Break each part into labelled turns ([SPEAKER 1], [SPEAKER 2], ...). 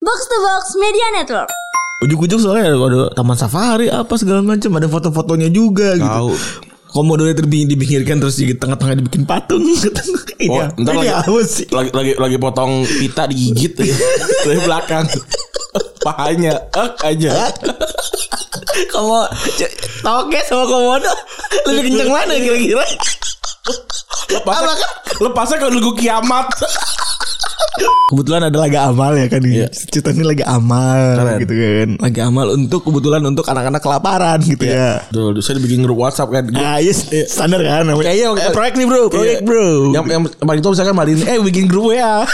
[SPEAKER 1] Box to Box Media Network.
[SPEAKER 2] Ujuk-ujuk soalnya ada, ada taman safari apa segala macam, ada foto-fotonya juga
[SPEAKER 3] Tahu.
[SPEAKER 2] gitu. Komodonya terbikin dipinggirkan terus di tengah-tengah dibikin patung. ini
[SPEAKER 3] Oh,
[SPEAKER 2] ya,
[SPEAKER 3] ntar
[SPEAKER 2] ini
[SPEAKER 3] lagi-
[SPEAKER 2] apa sih?
[SPEAKER 3] lagi lagi lagi potong pita digigit ya. dari belakang pahanya eh, aja
[SPEAKER 2] Kamu c- toke sama komodo lebih kenceng mana kira-kira?
[SPEAKER 3] lepasnya lepasnya kalau nunggu kiamat
[SPEAKER 2] Kebetulan ada laga amal ya kan
[SPEAKER 3] Iya.
[SPEAKER 2] Cerita ini laga amal
[SPEAKER 3] Keren.
[SPEAKER 2] gitu kan Laga amal untuk kebetulan untuk anak-anak kelaparan gitu
[SPEAKER 3] Iya.
[SPEAKER 2] ya
[SPEAKER 3] Tuh, saya dibikin grup WhatsApp kan. Gua-
[SPEAKER 2] Ah yes, standar kan namanya.
[SPEAKER 3] Kayaknya waktu-
[SPEAKER 2] Eh, proyek nih bro, proyek
[SPEAKER 3] Iya.
[SPEAKER 2] bro.
[SPEAKER 3] Yang yang paling tua misalkan Marin, eh bikin grup ya.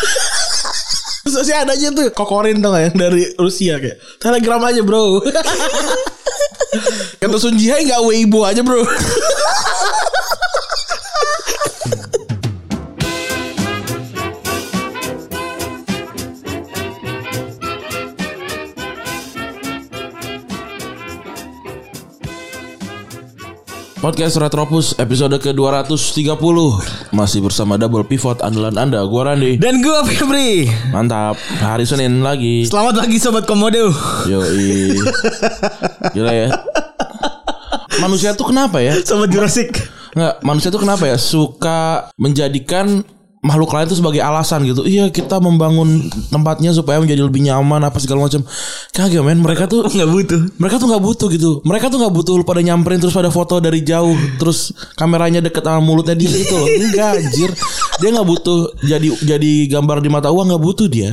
[SPEAKER 3] Terus sih ada aja tuh kokorin tuh yang dari Rusia kayak Telegram aja bro. Kata Sun Jihai nggak Weibo aja bro. Podcast Retropus episode ke-230 Masih bersama Double Pivot andalan Anda Gua Randy
[SPEAKER 2] Dan gue Febri.
[SPEAKER 3] Mantap Hari Senin lagi
[SPEAKER 2] Selamat pagi sobat komodo.
[SPEAKER 3] Yoi Gila ya Manusia tuh kenapa ya
[SPEAKER 2] Sobat Jurassic.
[SPEAKER 3] Nggak, manusia tuh kenapa ya suka menjadikan makhluk lain itu sebagai alasan gitu. Iya, kita membangun tempatnya supaya menjadi lebih nyaman apa segala macam. Kagak men, mereka tuh
[SPEAKER 2] Oh, Nggak butuh.
[SPEAKER 3] mereka tuh nggak butuh gitu. Mereka tuh nggak butuh lu pada nyamperin terus pada foto dari jauh, terus kameranya deket sama mulutnya dia gitu loh. Enggak, anjir. Dia nggak butuh jadi jadi gambar di mata uang nggak butuh dia.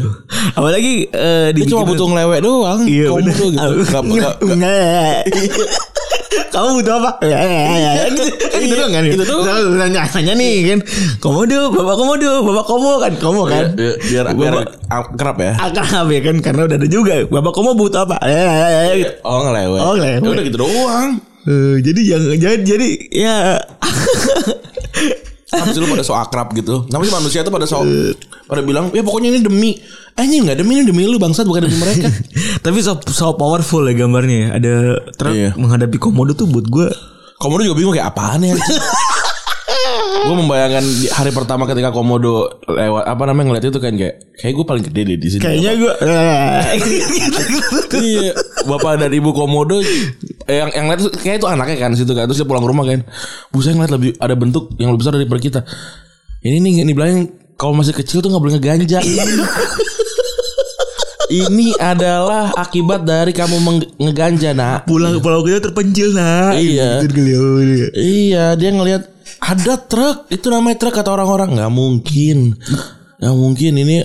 [SPEAKER 2] Apalagi eh,
[SPEAKER 3] Dia cuma
[SPEAKER 2] dibikin-
[SPEAKER 3] butuh ngelewek doang.
[SPEAKER 2] Iya
[SPEAKER 3] Kamu
[SPEAKER 2] bener.
[SPEAKER 3] tuh gitu. Nggak- nggak-
[SPEAKER 2] Nggak.
[SPEAKER 3] iya.
[SPEAKER 2] Kamu butuh apa? Ya, ya, ya, ya. Gitu gitu doang kan. Itu doang. Nanya, nanya nih kan. Komodo, bapak komodo, bapak komo kan, komo kan.
[SPEAKER 3] Biar Iya, biar, biar kerap ya.
[SPEAKER 2] Akrab ya kan karena udah ada juga. Bapak komo butuh apa? Ya, ya, ya, ya, gitu.
[SPEAKER 3] Oh ngelewek.
[SPEAKER 2] Oh, ngelewek.
[SPEAKER 3] Ya Udah gitu doang.
[SPEAKER 2] Eh, jadi jangan jadi, jadi ya
[SPEAKER 3] Kenapa sih lu pada so akrab gitu? Kenapa sih manusia tuh pada so pada bilang ya pokoknya ini demi eh ini nggak demi ini demi lu bangsat bukan demi mereka.
[SPEAKER 2] tapi so, so powerful ya gambarnya ya. Ada truk
[SPEAKER 3] Iya.
[SPEAKER 2] menghadapi komodo tuh buat gue
[SPEAKER 3] Komodo juga bingung kayak apaan ya. gue membayangkan di hari pertama ketika komodo lewat apa namanya ngeliat itu kan kayak kayak gue paling gede deh di sini.
[SPEAKER 2] kayaknya eh. gue
[SPEAKER 3] iya bapak dan ibu komodo eh, yang yang lihat tuh- kayak itu anaknya kan situ kan terus dia pulang rumah kan buset ngeliat lebih ada bentuk yang lebih besar daripada kita ini nih ini bilang kalau masih kecil tuh nggak boleh ngeganja ini adalah akibat dari kamu meng- ngeganja nak
[SPEAKER 2] pulang pulau kita terpencil nah
[SPEAKER 3] Iya.
[SPEAKER 2] Gitu geliau dia.
[SPEAKER 3] Iya dia ngelihat ada truk itu namanya truk kata orang-orang nggak mungkin nggak mungkin ini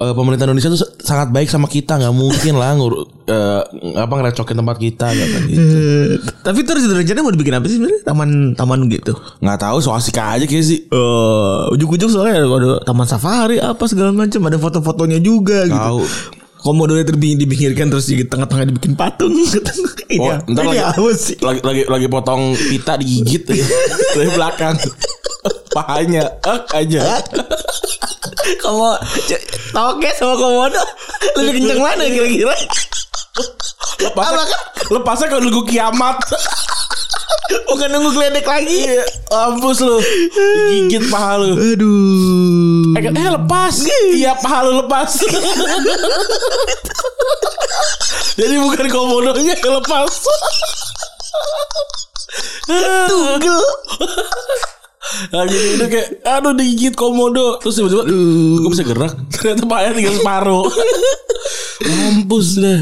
[SPEAKER 3] eh, pemerintah Indonesia tuh sa- sangat baik sama kita nggak mungkin lah ngur eh, apa ngerecokin tempat kita kata gitu.
[SPEAKER 2] Eh, tapi terus rencana mau dibikin apa sih sebenarnya taman taman gitu
[SPEAKER 3] nggak tahu so asik aja kayak sih
[SPEAKER 2] Eh, ujuk-ujuk soalnya ada, ada taman safari apa segala macam ada foto-fotonya juga
[SPEAKER 3] Tahu.
[SPEAKER 2] gitu komodonya terbikin dipinggirkan terus di tengah-tengah dibikin patung gitu. ini,
[SPEAKER 3] Oh,
[SPEAKER 2] apa-
[SPEAKER 3] ntar
[SPEAKER 2] ini
[SPEAKER 3] lagi,
[SPEAKER 2] apa sih
[SPEAKER 3] lagi lagi lagi potong pita digigit ya. dari belakang pahanya eh, aja
[SPEAKER 2] Komo c- toke sama komodo lebih kenceng mana kira-kira?
[SPEAKER 3] lepasnya lepasnya kalau nunggu kiamat
[SPEAKER 2] Bukan nunggu geledek lagi.
[SPEAKER 3] Iya, Mampus lu Digigit paha lu
[SPEAKER 2] Aduh.
[SPEAKER 3] Eh, eh, lepas Iya paha lu lepas Jadi bukan komodonya yang lepas
[SPEAKER 2] Tugel.
[SPEAKER 3] Nah, jadi itu kayak Aduh digigit komodo Terus tiba-tiba Kok bisa gerak Ternyata pahanya tinggal separuh Mampus deh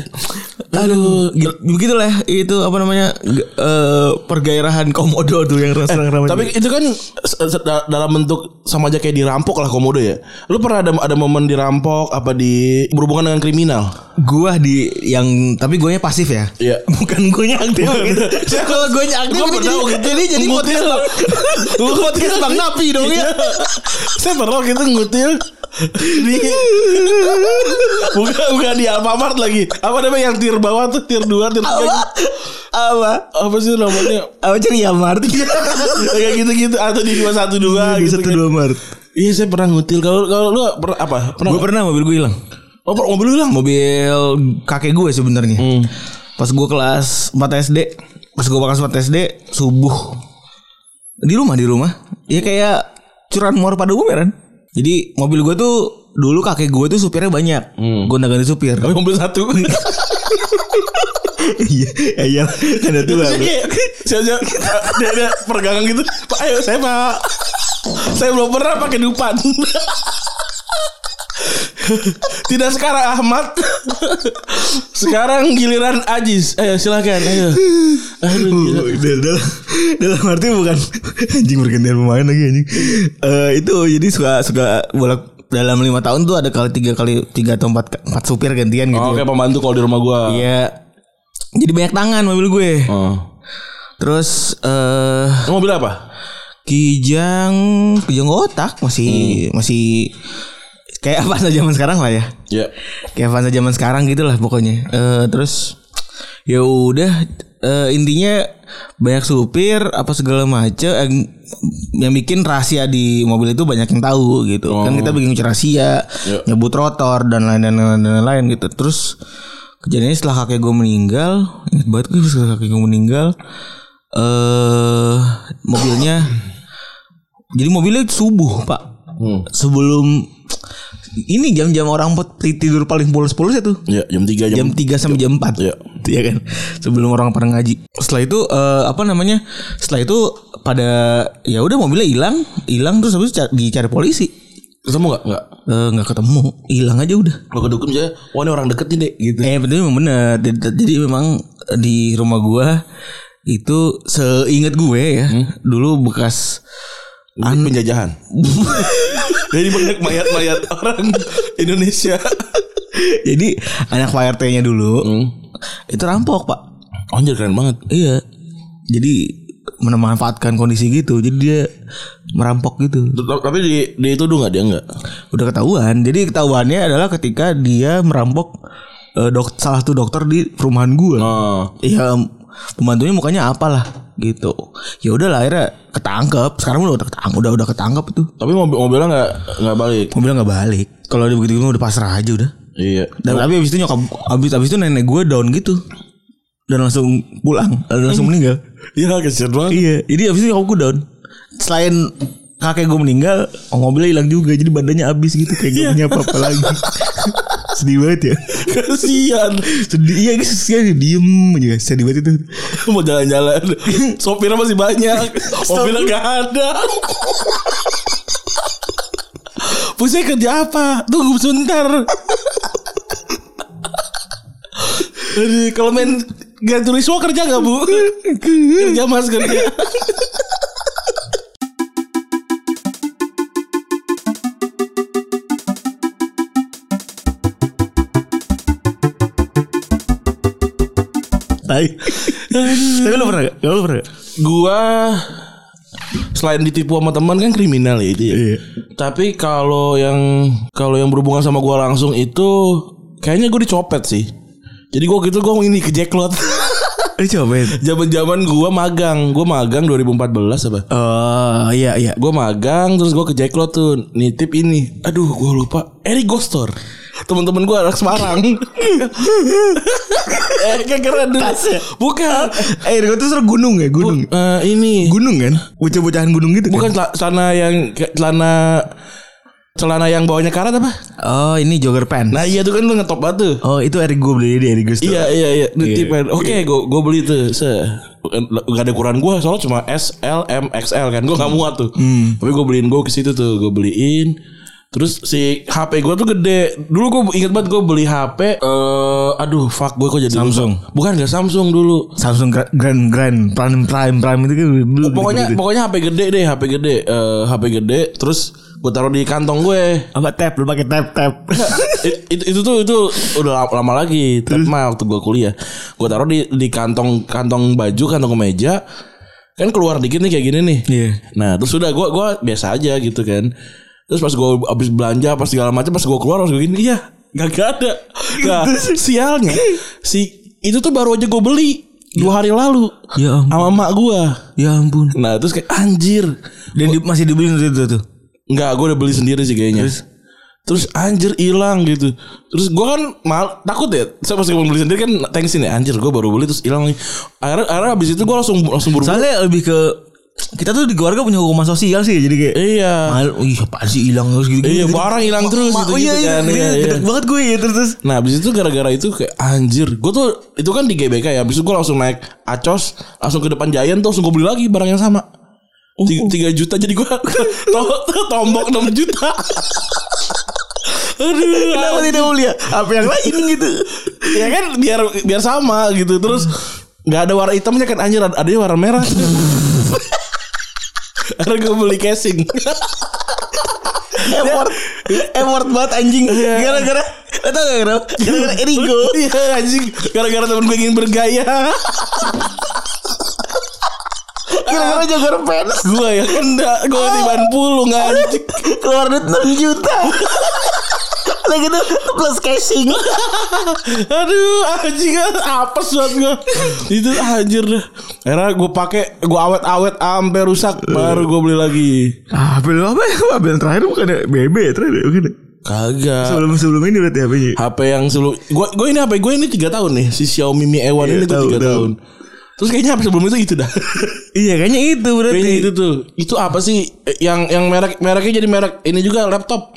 [SPEAKER 2] Aduh, gitu- begitulah itu apa namanya g- eh, pergairahan komodo tuh yang serang ramai.
[SPEAKER 3] Tapi itu kan se- se- da- dalam bentuk sama aja kayak dirampok lah komodo ya. Lu pernah ada ada momen dirampok apa di berhubungan dengan kriminal?
[SPEAKER 2] gua di yang tapi guanya pasif ya.
[SPEAKER 3] Iya.
[SPEAKER 2] Bukan guanya aktif gitu. Kalau guanya aktif
[SPEAKER 3] Gua
[SPEAKER 2] ini jadi
[SPEAKER 3] pernah gitu.
[SPEAKER 2] jadi jadi
[SPEAKER 3] Ngikutin
[SPEAKER 2] podcast
[SPEAKER 3] lo.
[SPEAKER 2] Bang- podcast Bang Napi dong ya.
[SPEAKER 3] Iya. Saya pernah gitu ngutil di bukan bukan di Alfamart lagi. Apa namanya yang tier bawah tuh tier 2, tier 3.
[SPEAKER 2] Apa? Apa?
[SPEAKER 3] Apa sih namanya?
[SPEAKER 2] Apa cari ya Mart?
[SPEAKER 3] Kayak gitu-gitu atau di 212 gitu.
[SPEAKER 2] Satu dua Mart.
[SPEAKER 3] Iya, saya pernah ngutil. Kalau kalau lu pernah apa? Pernah?
[SPEAKER 2] Gue pernah mobil gue hilang.
[SPEAKER 3] Oh, per- mobil lu hilang. Hmm.
[SPEAKER 2] Mobil kakek gue sebenarnya. Pas gue kelas 4 SD, pas gue kelas 4 SD subuh di rumah di rumah. Ya kayak curan mor pada umur kan. Jadi mobil gue tuh dulu kakek gue tuh supirnya banyak.
[SPEAKER 3] Hmm.
[SPEAKER 2] Gonta ganti supir.
[SPEAKER 3] Kami mobil satu.
[SPEAKER 2] Iya,
[SPEAKER 3] ya
[SPEAKER 2] iya, karena tua.
[SPEAKER 3] Saya
[SPEAKER 2] bro.
[SPEAKER 3] kayak saya saya- ada ada pergangan gitu. Pak, ayo saya pak. Saya belum pernah pakai dupan. Tidak sekarang Ahmad. Sekarang giliran Ajis. Ayo silakan. Ayo. Aduh, gila.
[SPEAKER 2] Dalam, dalam, dalam arti bukan anjing bergantian pemain lagi anjing. Eh itu jadi suka suka bolak dalam lima tahun tuh ada kali tiga kali tiga atau empat empat supir gantian gitu.
[SPEAKER 3] Oh, kayak pembantu kalau di rumah gua.
[SPEAKER 2] Iya. Jadi banyak tangan mobil gue.
[SPEAKER 3] Oh.
[SPEAKER 2] Terus eh
[SPEAKER 3] Ini mobil apa?
[SPEAKER 2] Kijang Kijang kotak masih masih kayak apa zaman sekarang lah ya.
[SPEAKER 3] Ya.
[SPEAKER 2] Kayak Avanza zaman sekarang gitu lah pokoknya. Eh terus ya udah eh, intinya banyak supir apa segala macem eh, yang bikin rahasia di mobil itu banyak yang tahu gitu. Kan kita bikin kunci rahasia,
[SPEAKER 3] Iya.
[SPEAKER 2] nyebut rotor dan lain-lain dan lain-lain gitu. Terus kejadiannya setelah kakek gue meninggal, ingat banget gue setelah kakek gue meninggal eh mobilnya jadi mobilnya subuh, Pak
[SPEAKER 3] Hmm.
[SPEAKER 2] sebelum ini jam-jam orang pet- tidur paling polos-polos itu
[SPEAKER 3] Ya, jam 3 jam.
[SPEAKER 2] jam 3 sampai jam 4
[SPEAKER 3] Iya.
[SPEAKER 2] Iya kan sebelum orang pada ngaji setelah itu eh, apa namanya setelah itu pada ya udah mobilnya hilang hilang terus habis ca- dicari polisi
[SPEAKER 3] Ketemu enggak? Enggak.
[SPEAKER 2] Eh, nggak ketemu hilang aja udah
[SPEAKER 3] Kalau kedukun saya, wah ini orang deket nih, Dek, gitu.
[SPEAKER 2] eh betul memang bener Jadi- jadi memang di rumah gua itu seingat gue ya
[SPEAKER 3] Hmm.
[SPEAKER 2] dulu bekas
[SPEAKER 3] An penjajahan. Jadi banyak mayat-mayat orang Indonesia.
[SPEAKER 2] jadi anak YRT-nya dulu
[SPEAKER 3] Hmm.
[SPEAKER 2] itu rampok pak
[SPEAKER 3] Anjir keren banget.
[SPEAKER 2] Iya. Jadi memanfaatkan kondisi gitu. Jadi dia merampok gitu.
[SPEAKER 3] Tut- Tapi di dituduh nggak dia nggak?
[SPEAKER 2] Udah ketahuan. Jadi ketahuannya adalah ketika dia merampok eh, dok salah satu dokter di perumahan gua.
[SPEAKER 3] Oh.
[SPEAKER 2] Iya, pembantunya mukanya apalah gitu. Ya udah lah akhirnya ketangkep. Sekarang udah ketangkep, udah udah ketangkep itu.
[SPEAKER 3] Tapi mobil mobilnya nggak nggak balik.
[SPEAKER 2] Mobilnya nggak balik. Kalau dia begitu udah pasrah aja udah.
[SPEAKER 3] Iya.
[SPEAKER 2] Dan tapi abis itu nyokap abis abis itu nenek gue down gitu dan langsung pulang dan langsung meninggal.
[SPEAKER 3] Iya kesian banget.
[SPEAKER 2] Iya, jadi abis itu nyokap gue down. Selain kakek gue meninggal, oh, mobilnya hilang juga, jadi badannya habis gitu kayak
[SPEAKER 3] Iya.
[SPEAKER 2] gak punya apa-apa lagi. sedih banget ya.
[SPEAKER 3] Kesian.
[SPEAKER 2] Sedih, iya guys, sedih diem aja, sedih banget itu.
[SPEAKER 3] Mau jalan-jalan. Sopirnya masih banyak. Mobilnya nggak ada. Pusing kerja apa? Tunggu sebentar. Aduh, Kalau main Gran Turismo kerja nggak bu? kerja mas kerja.
[SPEAKER 2] Tai. Tapi lu pernah gak? Gak lu pernah gak?
[SPEAKER 3] gua selain ditipu sama teman kan kriminal ya itu ya.
[SPEAKER 2] Iya.
[SPEAKER 3] Tapi kalau yang kalau yang berhubungan sama gua langsung itu kayaknya gua dicopet sih. Jadi gua gitu gua ini ke jackpot.
[SPEAKER 2] Lu cobain.
[SPEAKER 3] Zaman-zaman gua magang, gua magang 2014 apa?
[SPEAKER 2] Oh iya iya.
[SPEAKER 3] Gua magang terus gua ke jackpot tuh nitip ini. Aduh, gua lupa. Eri Gostor. Teman-teman gua anak Semarang. eh, kayak keren dulu.
[SPEAKER 2] Tas ya?
[SPEAKER 3] Bukan.
[SPEAKER 2] Eh, gue tuh seru gunung ya, gunung.
[SPEAKER 3] Eh, ini
[SPEAKER 2] Gunung kan? Bocah-bocahan gunung gitu
[SPEAKER 3] Bukan
[SPEAKER 2] kan?
[SPEAKER 3] cela- celana yang ke- celana celana yang bawahnya karat apa?
[SPEAKER 2] Oh, ini jogger pants.
[SPEAKER 3] Nah iya tuh kan lu ngetop banget tuh.
[SPEAKER 2] Oh, itu Eric gue beli di Eric gue.
[SPEAKER 3] Iya iya iya. Nitipan. Oke, gua gua beli tuh. Se Gak ada ukuran gua soalnya cuma S, L, M, XL kan. Gua gak muat tuh. Tapi gua beliin gua ke situ tuh, gua beliin. Terus si HP gua tuh gede. Dulu gua inget banget gua beli HP eh aduh fuck gua kok jadi lupa.
[SPEAKER 2] Samsung.
[SPEAKER 3] Bukan gak Samsung dulu.
[SPEAKER 2] Samsung Gra- Grand Grand Prime Prime Prime itu kan dulu
[SPEAKER 3] Pokoknya
[SPEAKER 2] gitu-gitu.
[SPEAKER 3] pokoknya HP gede deh, HP gede. Eh, HP gede terus gua taruh di kantong gue.
[SPEAKER 2] apa tap lu pakai tap tap
[SPEAKER 3] It- itu, itu tuh itu udah lama, lama lagi Tetma waktu gua kuliah Gua taruh di di kantong kantong baju kantong kemeja kan keluar dikit nih kayak gini nih
[SPEAKER 2] Iya.
[SPEAKER 3] nah terus udah gua gua biasa aja gitu kan terus pas gua habis belanja pas segala macam pas gua keluar pas gua gini iya gak, ada nah sialnya si itu tuh baru aja gua beli dua hari lalu
[SPEAKER 2] Ya ampun.
[SPEAKER 3] sama emak gua
[SPEAKER 2] ya ampun
[SPEAKER 3] nah terus kayak anjir
[SPEAKER 2] dan di- masih dibeli waktu itu tuh
[SPEAKER 3] Enggak, gue udah beli sendiri sih kayaknya. Terus, anjir hilang gitu. Terus gua kan mal takut ya. Saya pas gua beli sendiri kan tensin ya anjir gua baru beli terus hilang lagi. Akhirnya, akhirnya abis itu gua langsung langsung buru
[SPEAKER 2] soalnya lebih ke kita tuh di keluarga punya hukuman sosial sih jadi kayak
[SPEAKER 3] Iya.
[SPEAKER 2] mal ih apaan sih hilang terus gitu
[SPEAKER 3] Iya, barang hilang terus
[SPEAKER 2] gitu,
[SPEAKER 3] gitu-gitu
[SPEAKER 2] iya, iya,
[SPEAKER 3] kan.
[SPEAKER 2] iya,
[SPEAKER 3] Iya, iya.
[SPEAKER 2] gedek banget gue ya terus, terus
[SPEAKER 3] Nah abis itu gara-gara itu kayak anjir Gue tuh itu kan di GBK ya Abis itu gue langsung naik Acos Langsung ke depan Giant tuh Langsung gue beli lagi barang yang sama
[SPEAKER 2] Uh,
[SPEAKER 3] Tiga, tiga juta jadi gue to- Tombok 6 juta Aduh
[SPEAKER 2] kenapa tidak mulia apa yang lain gitu
[SPEAKER 3] Ya kan biar biar sama gitu Terus nggak ada warna hitamnya kan anjir ada- Adanya warna merah Karena gue beli casing
[SPEAKER 2] effort effort banget anjing gara-gara atau gak kenapa gara-gara Erigo
[SPEAKER 3] Iya anjing Gara-gara temen gue ingin bergaya
[SPEAKER 2] gara-gara jogor penis
[SPEAKER 3] Gue ya kena Gue tiban pulung anjing
[SPEAKER 2] keluar duit 6 juta lagi tuh plus casing
[SPEAKER 3] Aduh anjing kan apes banget gue Itu anjir dah Akhirnya gue pake Gue awet-awet sampai rusak Baru gue beli lagi
[SPEAKER 2] Apel apa ya? Apel terakhir bukan BB terakhir ya, bukan
[SPEAKER 3] Kagak
[SPEAKER 2] Sebelum sebelum ini berarti ya? HP-nya.
[SPEAKER 3] HP yang sebelum gue gue ini HP gue ini 3 tahun nih si Xiaomi Mi A1 ini gue
[SPEAKER 2] tahu,
[SPEAKER 3] 3
[SPEAKER 2] tahu.
[SPEAKER 3] tahun terus kayaknya HP sebelum itu itu dah
[SPEAKER 2] Iya kayaknya itu berarti.
[SPEAKER 3] kayaknya itu tuh itu apa sih Eh, yang yang merek mereknya jadi merek ini juga laptop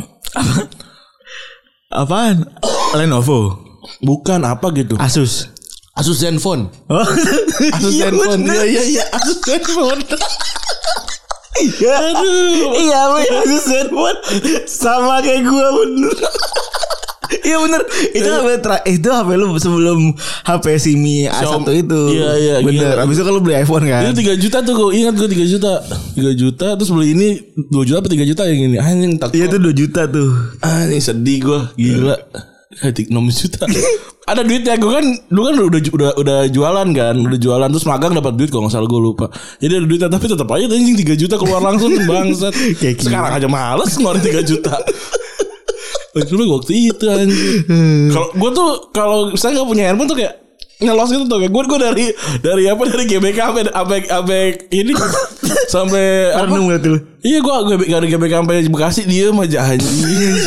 [SPEAKER 2] Apaan? Lenovo.
[SPEAKER 3] bukan apa gitu
[SPEAKER 2] Asus.
[SPEAKER 3] Asus Zenfone
[SPEAKER 2] Oh.
[SPEAKER 3] Asus
[SPEAKER 2] Iya,
[SPEAKER 3] Zenfone
[SPEAKER 2] bener.
[SPEAKER 3] iya iya iya Asus Zenfone
[SPEAKER 2] Iya. Iya, apa ya? Asus Zenfone. Sama kayak gua bener. Iya bener Itu HP tra- eh, Itu HP lu sebelum HP si Mi A1
[SPEAKER 3] Xiaomi.
[SPEAKER 2] itu
[SPEAKER 3] Iya, iya,
[SPEAKER 2] Bener
[SPEAKER 3] gila.
[SPEAKER 2] Abis itu kan lu beli iPhone kan
[SPEAKER 3] Itu 3 juta tuh gue ingat gue 3 juta 3 juta terus beli ini 2 juta apa 3 juta yang ini Anjing tak
[SPEAKER 2] Iya itu 2 juta tuh
[SPEAKER 3] Anjing Ah, sedih gue Gila Hati 6 juta Ada duitnya gue kan Dulu kan udah, udah udah jualan kan Udah jualan terus magang dapat duit kalau gak salah gue lupa Jadi ada duitnya tapi tetap aja tuh anjing 3 juta keluar langsung Bangsat
[SPEAKER 2] Kayak gini.
[SPEAKER 3] Sekarang aja males ngeluarin 3 juta Dulu waktu itu anjing
[SPEAKER 2] Hmm.
[SPEAKER 3] Kalau gue tuh Kalau misalnya gak punya handphone tuh kayak ngelos gitu tuh kayak gue gue dari dari apa dari GBK sampai sampai sampai ini sampai apa?
[SPEAKER 2] Renung berarti lu
[SPEAKER 3] Iya gua gue gak ada GBK sampai Bekasi diem aja anjing.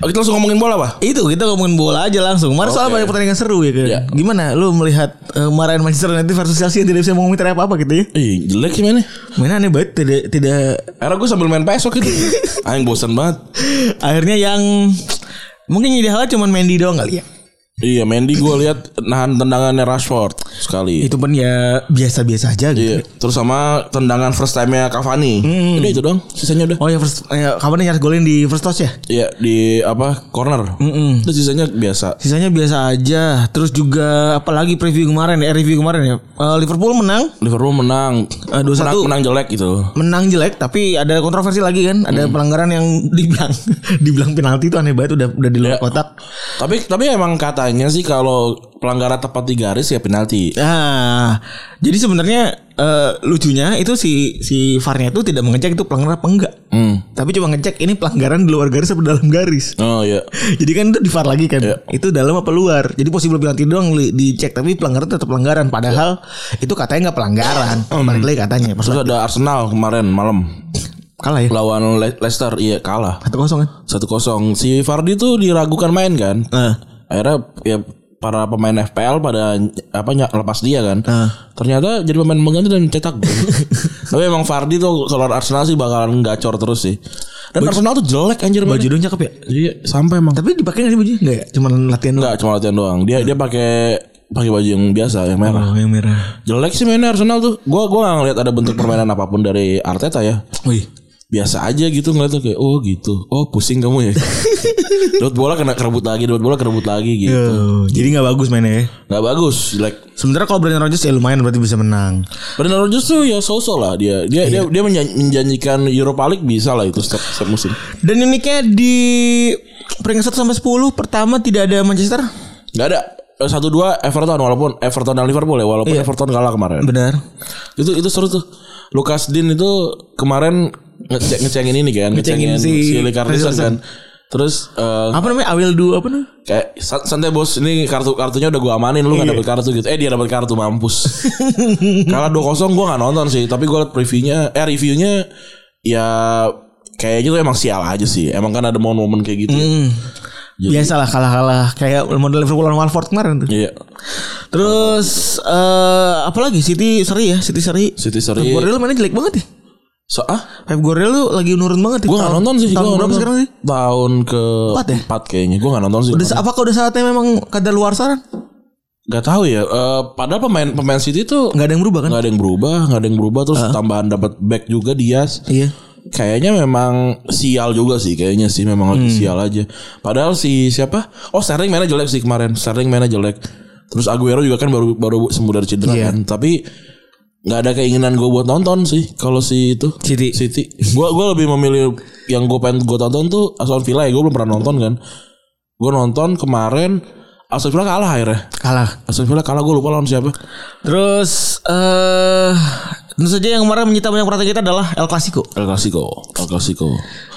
[SPEAKER 3] Oh, kita langsung ngomongin bola pak
[SPEAKER 2] Itu kita ngomongin bola aja langsung. Kemarin soal
[SPEAKER 3] Oke.
[SPEAKER 2] banyak pertandingan seru ya kan.
[SPEAKER 3] Iya.
[SPEAKER 2] Gimana lu melihat eh, kemarin Manchester United versus Chelsea yang tidak bisa mengomentarin apa-apa gitu ya?
[SPEAKER 3] Ih jelek sih mainnya
[SPEAKER 2] Mainnya aneh banget tidak tidak
[SPEAKER 3] Akhirnya gue sambil main PS waktu itu Anjing bosan banget
[SPEAKER 2] akhirnya yang mungkin jadi hal cuman Mendy doang kali ya.
[SPEAKER 3] Iya Mendy gue lihat Nahan tendangannya Rashford Sekali
[SPEAKER 2] Itu pun ya biasa-biasa aja gitu.
[SPEAKER 3] Iya. Terus sama tendangan first time-nya Cavani Udah itu dong Sisanya udah
[SPEAKER 2] Oh ya first eh, kapan nyaris golin di first touch ya?
[SPEAKER 3] Iya di apa corner. Terus sisanya biasa.
[SPEAKER 2] Sisanya biasa aja. Terus juga apalagi preview kemarin ya, eh, review kemarin ya. Eh, Liverpool menang
[SPEAKER 3] Liverpool menang.
[SPEAKER 2] Eh, 2-1.
[SPEAKER 3] Menang, menang jelek gitu.
[SPEAKER 2] menang jelek tapi ada kontroversi lagi kan ada pelanggaran yang dibilang dibilang penalti itu aneh banget udah udah di luar
[SPEAKER 3] Ya.
[SPEAKER 2] kotak
[SPEAKER 3] Tapi tapi emang katanya sih kalau pelanggaran tepat di garis ya penalti.
[SPEAKER 2] Nah, jadi sebenarnya eh, lucunya itu si si VAR-nya itu tidak mengecek itu pelanggaran apa enggak.
[SPEAKER 3] Hmm.
[SPEAKER 2] Tapi cuma ngecek ini pelanggaran di luar garis apa dalam garis.
[SPEAKER 3] Oh iya.
[SPEAKER 2] Jadi kan itu di VAR lagi kan. Itu dalam apa luar. Jadi possible penalti doang li- dicek tapi pelanggaran tetap pelanggaran padahal itu katanya nggak pelanggaran. Balik lagi katanya. Maksud
[SPEAKER 3] Terus ada Arsenal kemarin malam
[SPEAKER 2] kalah ya.
[SPEAKER 3] lawan Le- Leicester iya kalah.
[SPEAKER 2] 1-0 kan.
[SPEAKER 3] 1-0. Si Vardy tuh diragukan main kan.
[SPEAKER 2] Nah,
[SPEAKER 3] Akhirnya ya para pemain FPL pada ny- apa ny- lepas dia kan. Ternyata jadi pemain pengganti dan cetak gol. Tapi emang Vardy tuh kalau Arsenal sih bakalan gacor terus sih. Dan Arsenal tuh jelek anjir
[SPEAKER 2] baju
[SPEAKER 3] banget.
[SPEAKER 2] dong cakep ya.
[SPEAKER 3] Iya, sampai emang.
[SPEAKER 2] Tapi dipakai nggak sih bajunya? Enggak ya. Cuman latihan doang.
[SPEAKER 3] Enggak cuma latihan doang. Dia dia pakai pakai baju yang biasa yang merah.
[SPEAKER 2] Oh, yang merah.
[SPEAKER 3] Jelek sih mainnya Arsenal tuh. Gua gua gak ngeliat ada bentuk permainan apapun dari Arteta ya.
[SPEAKER 2] Wih.
[SPEAKER 3] Biasa aja gitu ngeliat tuh kayak oh gitu. Oh pusing kamu ya. Dot bola kena kerebut lagi, dot bola kerebut lagi gitu.
[SPEAKER 2] Tuh, Iya. jadi nggak bagus mainnya ya.
[SPEAKER 3] Gak bagus, jelek.
[SPEAKER 2] Sebenarnya kalau Brandon Rodgers ya lumayan berarti bisa menang.
[SPEAKER 3] Brendan Rodgers tuh ya so-so lah dia. Dia dia dia menjan- menjanjikan Europa League bisa lah itu setiap, setiap musim.
[SPEAKER 2] Dan uniknya di peringkat 1 sampai 10 pertama tidak ada Manchester.
[SPEAKER 3] Gak ada satu dua Everton walaupun Everton dan Liverpool ya walaupun Everton kalah kemarin.
[SPEAKER 2] Benar.
[SPEAKER 3] Itu itu seru tuh. Lucas Dean itu kemarin ngecek ngecengin ini kan,
[SPEAKER 2] Ngecengin
[SPEAKER 3] ngecengin,
[SPEAKER 2] si
[SPEAKER 3] si, Ricarlison kan. Terus eh,
[SPEAKER 2] Apa namanya? Awil dua apa namanya?
[SPEAKER 3] kayak "San- santai bos ini kartu kartunya udah gua amanin lu
[SPEAKER 2] Iya.
[SPEAKER 3] gak dapet kartu gitu eh dia dapet kartu mampus kalah 2-0 gua nggak nonton sih tapi gua liat previewnya eh reviewnya ya kayaknya tuh emang sial aja sih. Emang kan ada momen-momen kayak gitu. ya.
[SPEAKER 2] Hmm. Biasalah kalah-kalah kayak model Liverpool lawan Watford kemarin tuh.
[SPEAKER 3] Iya.
[SPEAKER 2] Terus eh apalagi City seri ya, City seri.
[SPEAKER 3] City
[SPEAKER 2] Pep
[SPEAKER 3] sorry.
[SPEAKER 2] Guardiola mainnya jelek banget ya.
[SPEAKER 3] So, ah,
[SPEAKER 2] Pep Guardiola lu lagi nurun banget ya.
[SPEAKER 3] Gue gak
[SPEAKER 2] Tahun-
[SPEAKER 3] nonton sih
[SPEAKER 2] Tahun
[SPEAKER 3] gua nggak
[SPEAKER 2] berapa
[SPEAKER 3] nonton.
[SPEAKER 2] sekarang sih?
[SPEAKER 3] Tahun ke
[SPEAKER 2] Empat ya?
[SPEAKER 3] empat kayaknya Gue gak nonton sih
[SPEAKER 2] Udah, sa- apakah udah saatnya memang kada luar saran?
[SPEAKER 3] Gak tahu ya Eh, Padahal pemain pemain City tuh
[SPEAKER 2] Enggak ada yang berubah kan?
[SPEAKER 3] Gak ada yang berubah Gak ada yang berubah Terus tambahan dapat back juga Dias
[SPEAKER 2] Iya.
[SPEAKER 3] Kayaknya memang sial juga sih Kayaknya sih memang
[SPEAKER 2] Hmm.
[SPEAKER 3] lagi sial aja Padahal si siapa Oh Sterling mainnya jelek sih kemarin Sterling mainnya jelek Terus Aguero juga kan baru baru sembuh dari cedera
[SPEAKER 2] Iya.
[SPEAKER 3] kan Tapi nggak ada keinginan gue buat nonton sih kalau si itu
[SPEAKER 2] City.
[SPEAKER 3] City. Gua gua lebih memilih yang gue pengen gue tonton tuh Aston Villa ya. Gue belum pernah nonton kan. Gue nonton kemarin Aston Villa kalah akhirnya.
[SPEAKER 2] Kalah.
[SPEAKER 3] Aston Villa kalah gue lupa lawan siapa.
[SPEAKER 2] Terus eh tentu saja yang kemarin menyita banyak perhatian kita adalah El Clasico.
[SPEAKER 3] El Clasico, El Clasico.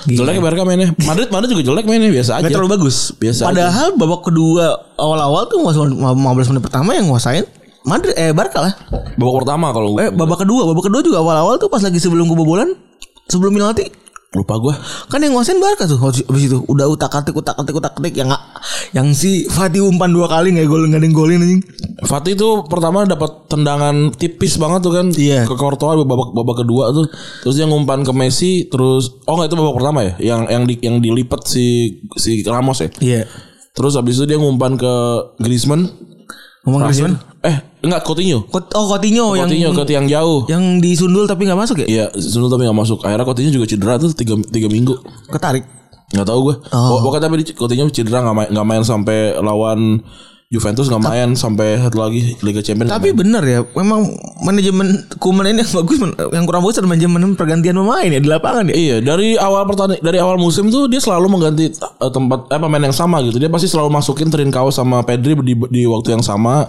[SPEAKER 3] Jelek mereka mainnya. Madrid Madrid juga jelek mainnya biasa aja.
[SPEAKER 2] Gak terlalu bagus.
[SPEAKER 3] Biasa
[SPEAKER 2] Padahal babak kedua awal-awal tuh mas- 15 menit pertama yang nguasain Madrid eh Barca lah.
[SPEAKER 3] Babak pertama kalau
[SPEAKER 2] Eh babak kedua, babak kedua juga awal-awal tuh pas lagi sebelum kebobolan, sebelum penalti
[SPEAKER 3] lupa gue.
[SPEAKER 2] kan yang nguasain Barca tuh habis habis itu udah utak atik utak atik utak atik yang nggak- yang si Fatih umpan dua kali nggak gol nggak ada yang golin anjing
[SPEAKER 3] Fatih tuh pertama dapat tendangan tipis banget tuh kan
[SPEAKER 2] Iya.
[SPEAKER 3] ke Courtois babak babak kedua tuh terus dia ngumpan ke Messi terus oh nggak itu babak pertama ya yang yang di, yang dilipet si si Ramos ya
[SPEAKER 2] iya
[SPEAKER 3] terus habis itu dia ngumpan ke Griezmann
[SPEAKER 2] ngomong Griezmann
[SPEAKER 3] eh enggak Coutinho
[SPEAKER 2] Kot- oh Coutinho, yang
[SPEAKER 3] Coutinho ke tiang jauh
[SPEAKER 2] yang disundul tapi nggak masuk ya
[SPEAKER 3] Iya, Sundul tapi gak masuk. Akhirnya Coutinho juga cedera tuh 3, tiga minggu.
[SPEAKER 2] ketarik
[SPEAKER 3] Gak tau gue. Oh. Pokoknya tapi di- Coutinho cedera gak main, nggak main sampai lawan Juventus gak main sampai satu lagi Liga Champions. nggak
[SPEAKER 2] tapi bener ya memang manajemen Kuman ini yang bagus men- yang kurang bagus adalah manajemen pergantian pemain ya di lapangan ya
[SPEAKER 3] Iya, dari awal pertanding dari awal musim tuh dia selalu mengganti eh, tempat eh pemain yang sama gitu. Dia pasti selalu masukin Trincao sama Pedri di, di waktu yang sama.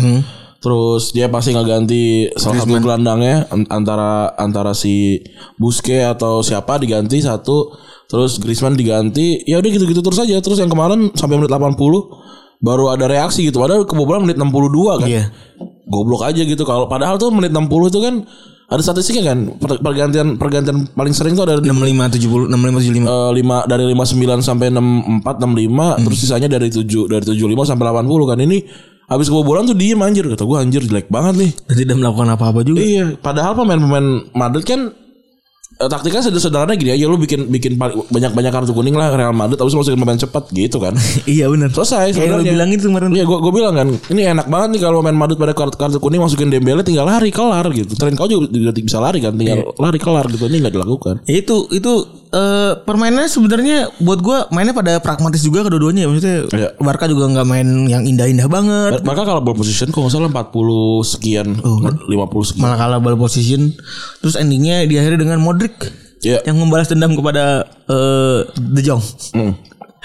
[SPEAKER 3] Terus dia pasti ngeganti salah satu gelandangnya an- antara antara si Buske atau siapa diganti satu. Terus Griezmann diganti. Ya udah gitu-gitu terus aja. Terus yang kemarin sampai menit 80 baru ada reaksi gitu. Padahal kebobolan menit 62 kan
[SPEAKER 2] Iya.
[SPEAKER 3] goblok aja gitu kalau padahal tuh menit 60 itu kan ada statistiknya kan per- pergantian pergantian paling sering tuh ada di,
[SPEAKER 2] 65 70 65 75
[SPEAKER 3] eh, lima dari 59 sampai 64 65 terus sisanya dari 7 dari 75 sampai 80 kan ini habis kebobolan tuh diem anjir kata gua anjir jelek banget nih
[SPEAKER 2] dan tidak melakukan apa-apa juga
[SPEAKER 3] Iya, padahal pemain-pemain Madrid kan eh, taktiknya sederhana gini aja lu bikin bikin pal- banyak-banyak kartu kuning lah Real Madrid habis masukin pemain cepat gitu kan.
[SPEAKER 2] iya bener kayak yang
[SPEAKER 3] Selesai
[SPEAKER 2] lu
[SPEAKER 3] sebenarnya.
[SPEAKER 2] bilang itu kemarin
[SPEAKER 3] Iya gue bilang kan Ini enak banget nih kalau main Madrid pada kartu, kartu kuning Masukin Dembele tinggal lari kelar gitu Tren kau juga juga bisa lari kan Tinggal lari kelar gitu Ini gak dilakukan
[SPEAKER 2] Ya itu itu eh, permainannya sebenarnya buat gua mainnya pada pragmatis juga kedua-duanya ya. maksudnya
[SPEAKER 3] Iya.
[SPEAKER 2] Barca juga nggak main yang indah-indah banget
[SPEAKER 3] Maka kalau ball position Kalau nggak salah 40 sekian 50 sekian
[SPEAKER 2] malah kalah ball position terus endingnya diakhiri dengan Modric
[SPEAKER 3] Iya.
[SPEAKER 2] yang membalas dendam kepada eh, De Jong
[SPEAKER 3] Hmm.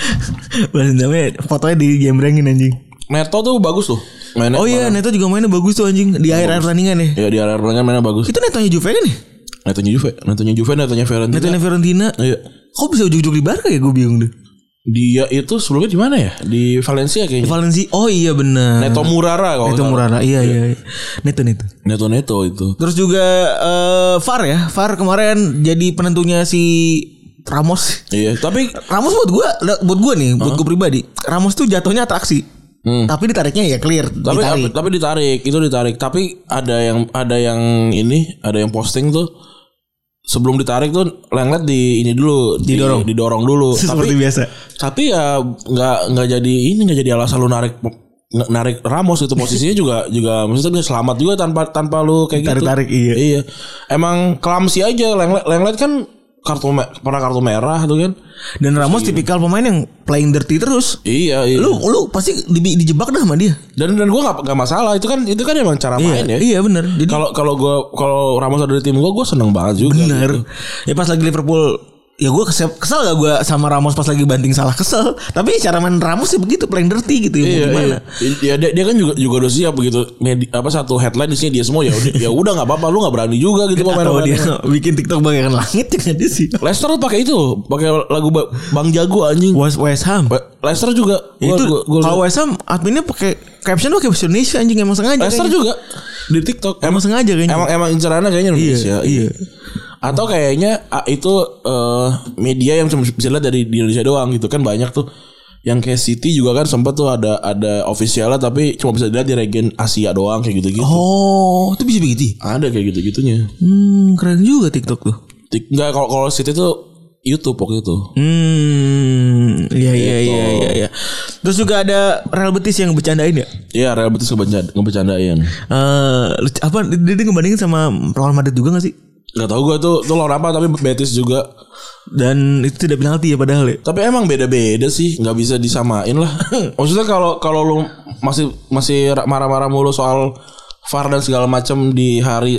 [SPEAKER 2] balas dendamnya fotonya digembrengin anjing
[SPEAKER 3] Neto tuh bagus tuh Mainnya
[SPEAKER 2] oh iya Neto juga mainnya bagus tuh anjing di akhir akhir pertandingan ya
[SPEAKER 3] Ya di area pertandingan mainnya bagus
[SPEAKER 2] itu Netonya Juve kan ya
[SPEAKER 3] Netonya Juve Netonya Juve Netonya Fiorentina
[SPEAKER 2] Netonya Fiorentina
[SPEAKER 3] Iya
[SPEAKER 2] kok bisa ujung-ujung di Barca ya gue bingung deh
[SPEAKER 3] Dia itu sebelumnya di mana ya Di Valencia kayaknya
[SPEAKER 2] Valencia oh iya benar
[SPEAKER 3] Neto Murara kalau
[SPEAKER 2] Neto
[SPEAKER 3] nggak salah.
[SPEAKER 2] Murara iya iya iya. Neto Neto
[SPEAKER 3] Neto Neto itu
[SPEAKER 2] Terus juga eh, VAR ya. VAR kemarin jadi penentunya si Ramos.
[SPEAKER 3] Iya tapi
[SPEAKER 2] Ramos buat gua buat gua nih, buat gua pribadi. Ramos tuh jatuhnya atraksi.
[SPEAKER 3] Hmm.
[SPEAKER 2] Tapi ditariknya ya clear,
[SPEAKER 3] tapi tapi,
[SPEAKER 2] ditarik.
[SPEAKER 3] tapi ditarik itu ditarik tapi ada yang ada yang ini ada yang posting tuh sebelum ditarik tuh lenglet di ini dulu didorong didorong dulu
[SPEAKER 2] Seperti
[SPEAKER 3] tapi
[SPEAKER 2] biasa.
[SPEAKER 3] tapi ya nggak nggak jadi ini nggak jadi alasan lu narik narik Ramos itu posisinya juga juga maksudnya bisa selamat juga tanpa tanpa lu kayak gitu
[SPEAKER 2] Tarik-tarik, iya.
[SPEAKER 3] iya emang kelamsi aja lenglet lenglet kan kartu me- pernah kartu merah tuh kan
[SPEAKER 2] Dan Ramos tipikal pemain yang playing dirty terus.
[SPEAKER 3] iya iya
[SPEAKER 2] Lu lu pasti di- dijebak dah sama dia.
[SPEAKER 3] dan dan gua nggak nggak masalah itu kan itu kan emang cara main ya
[SPEAKER 2] Iya benar. Jadi
[SPEAKER 3] kalau kalau gue kalau Ramos ada di tim gue gue seneng banget juga gitu.
[SPEAKER 2] benar. Ya pas lagi Liverpool ya gue kesel, kesel gak gue sama Ramos pas lagi banting salah kesel tapi cara main Ramos sih begitu playing dirty gitu ya mau
[SPEAKER 3] Iya,
[SPEAKER 2] gimana
[SPEAKER 3] iya. Ya, dia, dia kan juga juga udah siap begitu. Medi- apa satu headline isinya dia semua ya udah ya udah nggak apa-apa lu nggak berani juga gitu pemain
[SPEAKER 2] atau dia bikin TikTok bagaikan langit dengan dia sih
[SPEAKER 3] Leicester tuh pakai itu, pakai lagu Ba- Bang Jago anjing.
[SPEAKER 2] West West Ham.
[SPEAKER 3] Ba- Leicester juga Gua-
[SPEAKER 2] itu
[SPEAKER 3] gua- gua-
[SPEAKER 2] kalau West Ham adminnya pakai caption pakai bahasa Indonesia anjing emang sengaja.
[SPEAKER 3] Leicester
[SPEAKER 2] kayaknya.
[SPEAKER 3] juga di TikTok.
[SPEAKER 2] emang sengaja kayaknya.
[SPEAKER 3] Emang emang incerannya kayaknya Indonesia.
[SPEAKER 2] iya.
[SPEAKER 3] Atau kayaknya ah, itu eh, media yang cuma bisa lihat dari di Indonesia doang gitu kan banyak tuh yang kayak City juga kan sempat tuh ada ada officialnya tapi cuma bisa dilihat di region Asia doang kayak gitu-gitu.
[SPEAKER 2] Oh, itu bisa begitu.
[SPEAKER 3] Ada kayak gitu-gitunya.
[SPEAKER 2] Hmm, keren juga TikTok tuh.
[SPEAKER 3] Tik- Nggak kalau kalau City tuh YouTube waktu itu.
[SPEAKER 2] Hmm, iya iya iya iya iya. Terus juga ada Real Betis yang bercandain ya.
[SPEAKER 3] Iya, Real Betis ngebecan- ngebecandain.
[SPEAKER 2] Eh, lucu- apa dia, dia ngebandingin sama lawan Madrid juga gak sih?
[SPEAKER 3] Gak tau gue tuh tuh lawan apa tapi Betis juga.
[SPEAKER 2] Dan itu tidak penalti ya padahal ya.
[SPEAKER 3] Tapi emang beda-beda sih, nggak bisa disamain lah. Maksudnya kalau kalau lu masih masih ra- marah-marah mulu soal VAR dan segala macam di hari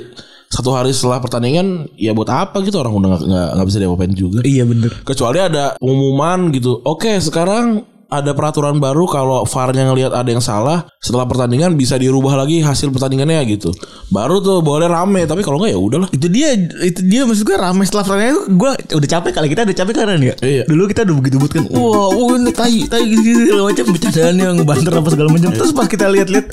[SPEAKER 3] satu hari setelah pertandingan, ya buat apa gitu orang udah nggak- nggak nggak bisa diapa-apain juga.
[SPEAKER 2] Iya bener.
[SPEAKER 3] Kecuali ada pengumuman gitu. Oke, sekarang ada peraturan baru kalau VAR-nya ngelihat ada yang salah setelah pertandingan bisa dirubah lagi hasil pertandingannya gitu. Baru tuh boleh rame, tapi kalau nggak ya udahlah.
[SPEAKER 2] Itu dia itu dia maksud gue rame setelah pertandingan itu gue udah capek kali kita udah capek kan ya.
[SPEAKER 3] Iya.
[SPEAKER 2] Dulu kita udah begitu buat kan. Wah, wah ini tai tai gini gini segala macam bercandaan yang banter apa segala macam. Terus pas kita lihat-lihat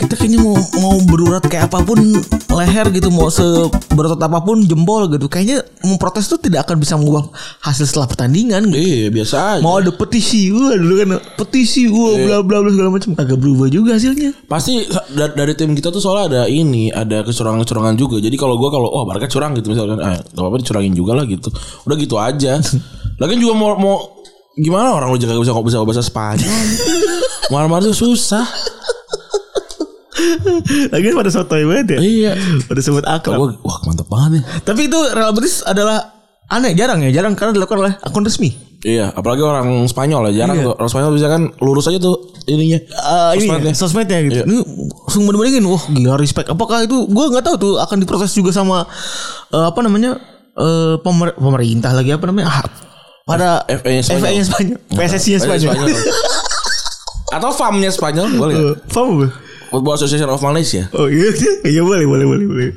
[SPEAKER 2] kita kayaknya mau mau berurat kayak apapun leher gitu mau seberotot apapun jempol gitu kayaknya memprotes tuh tidak akan bisa mengubah hasil setelah pertandingan gitu.
[SPEAKER 3] Iya, biasa aja.
[SPEAKER 2] mau ada petisi wah dulu kan petisi wah bla bla bla segala macam agak berubah juga hasilnya
[SPEAKER 3] Pasti da- dari tim kita tuh soalnya ada ini, ada kecurangan-kecurangan juga. Jadi kalau gua kalau oh Barca curang gitu misalkan, ah enggak apa-apa dicurangin juga lah gitu. Udah gitu aja. Lagian juga mau mau gimana orang lu jaga bisa kok bisa bahasa Spanyol. Marmar tuh susah.
[SPEAKER 2] lagian pada sotoy banget ya
[SPEAKER 3] Iya.
[SPEAKER 2] pada sebut akrab
[SPEAKER 3] Gua wah mantap banget ya.
[SPEAKER 2] tapi itu Real Betis adalah aneh jarang ya jarang karena dilakukan oleh akun resmi
[SPEAKER 3] Iya, apalagi orang Spanyol ya jarang tuh. Orang Spanyol bisa kan lurus aja tuh ininya.
[SPEAKER 2] Eh ini
[SPEAKER 3] Sosmednya.
[SPEAKER 2] ya, sosmednya gitu.
[SPEAKER 3] Iya.
[SPEAKER 2] Ini langsung banding-bandingin, wah gila respect. Apakah itu gua nggak tahu tuh akan diproses juga sama eh, apa namanya? eh pemer- pemerintah lagi apa namanya? Ah, pada
[SPEAKER 3] FA-nya Spanyol.
[SPEAKER 2] FA-nya Spanyol. PSSI-nya
[SPEAKER 3] Iya,
[SPEAKER 2] Spanyol.
[SPEAKER 3] Atau FAM-nya Spanyol boleh. nggak?
[SPEAKER 2] Eh, Paham gak?
[SPEAKER 3] Football Association of Malaysia.
[SPEAKER 2] Oh iya, iya boleh, boleh, boleh, boleh,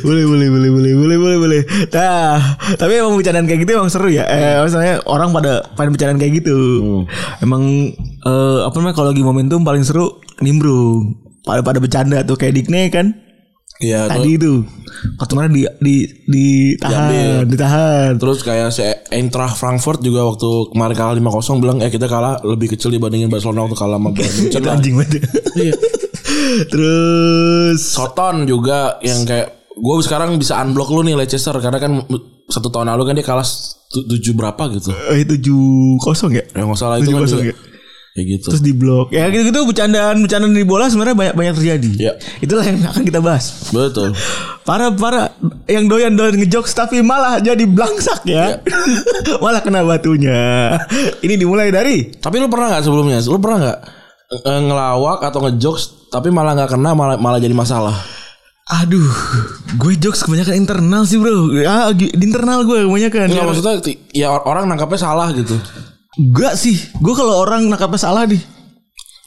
[SPEAKER 2] boleh, boleh, boleh, boleh, boleh, boleh, boleh. Nah, tapi emang bercandaan kayak gitu emang seru ya. Eh,
[SPEAKER 3] Hmm.
[SPEAKER 2] misalnya orang pada pada bercandaan kayak gitu. Emang eh, apa namanya kalau lagi momentum paling seru nimbrung. Pada pada bercanda tuh kayak Dikne kan
[SPEAKER 3] Iya, tuh.
[SPEAKER 2] tadi itu. Waktu mana di di ditahan, ditahan.
[SPEAKER 3] Terus kayak si Eintracht Frankfurt juga waktu kemarin kalah 5-0 bilang eh kita kalah lebih kecil dibandingin Barcelona waktu kalah sama Bayern Munchen
[SPEAKER 2] Itu
[SPEAKER 3] lah.
[SPEAKER 2] anjing banget. Iya. Terus
[SPEAKER 3] Soton juga yang kayak gue sekarang bisa unblock lu nih Leicester karena kan satu tahun lalu kan dia kalah tu- tujuh berapa gitu.
[SPEAKER 2] eh tujuh kosong ya.
[SPEAKER 3] Ya nggak salah itu
[SPEAKER 2] 7-0
[SPEAKER 3] kan juga.
[SPEAKER 2] ya?
[SPEAKER 3] Ya gitu.
[SPEAKER 2] terus di blok ya gitu gitu bercandaan bercandaan di bola sebenarnya banyak banyak terjadi
[SPEAKER 3] Iya.
[SPEAKER 2] itulah yang akan kita bahas
[SPEAKER 3] Betul.
[SPEAKER 2] para para yang doyan doyan ngejokes tapi malah jadi blangsak ya malah kena batunya ini dimulai dari
[SPEAKER 3] Tapi lu pernah nggak sebelumnya? Lu pernah nggak eh, ngelawak atau ngejokes tapi malah nggak kena malah malah jadi masalah?
[SPEAKER 2] aduh gue jokes kebanyakan internal sih bro ah, di internal gue kebanyakan
[SPEAKER 3] Enggak maksudnya ti- ya or- orang nangkapnya salah gitu.
[SPEAKER 2] Enggak sih, gue kalau orang nangkapnya salah nih.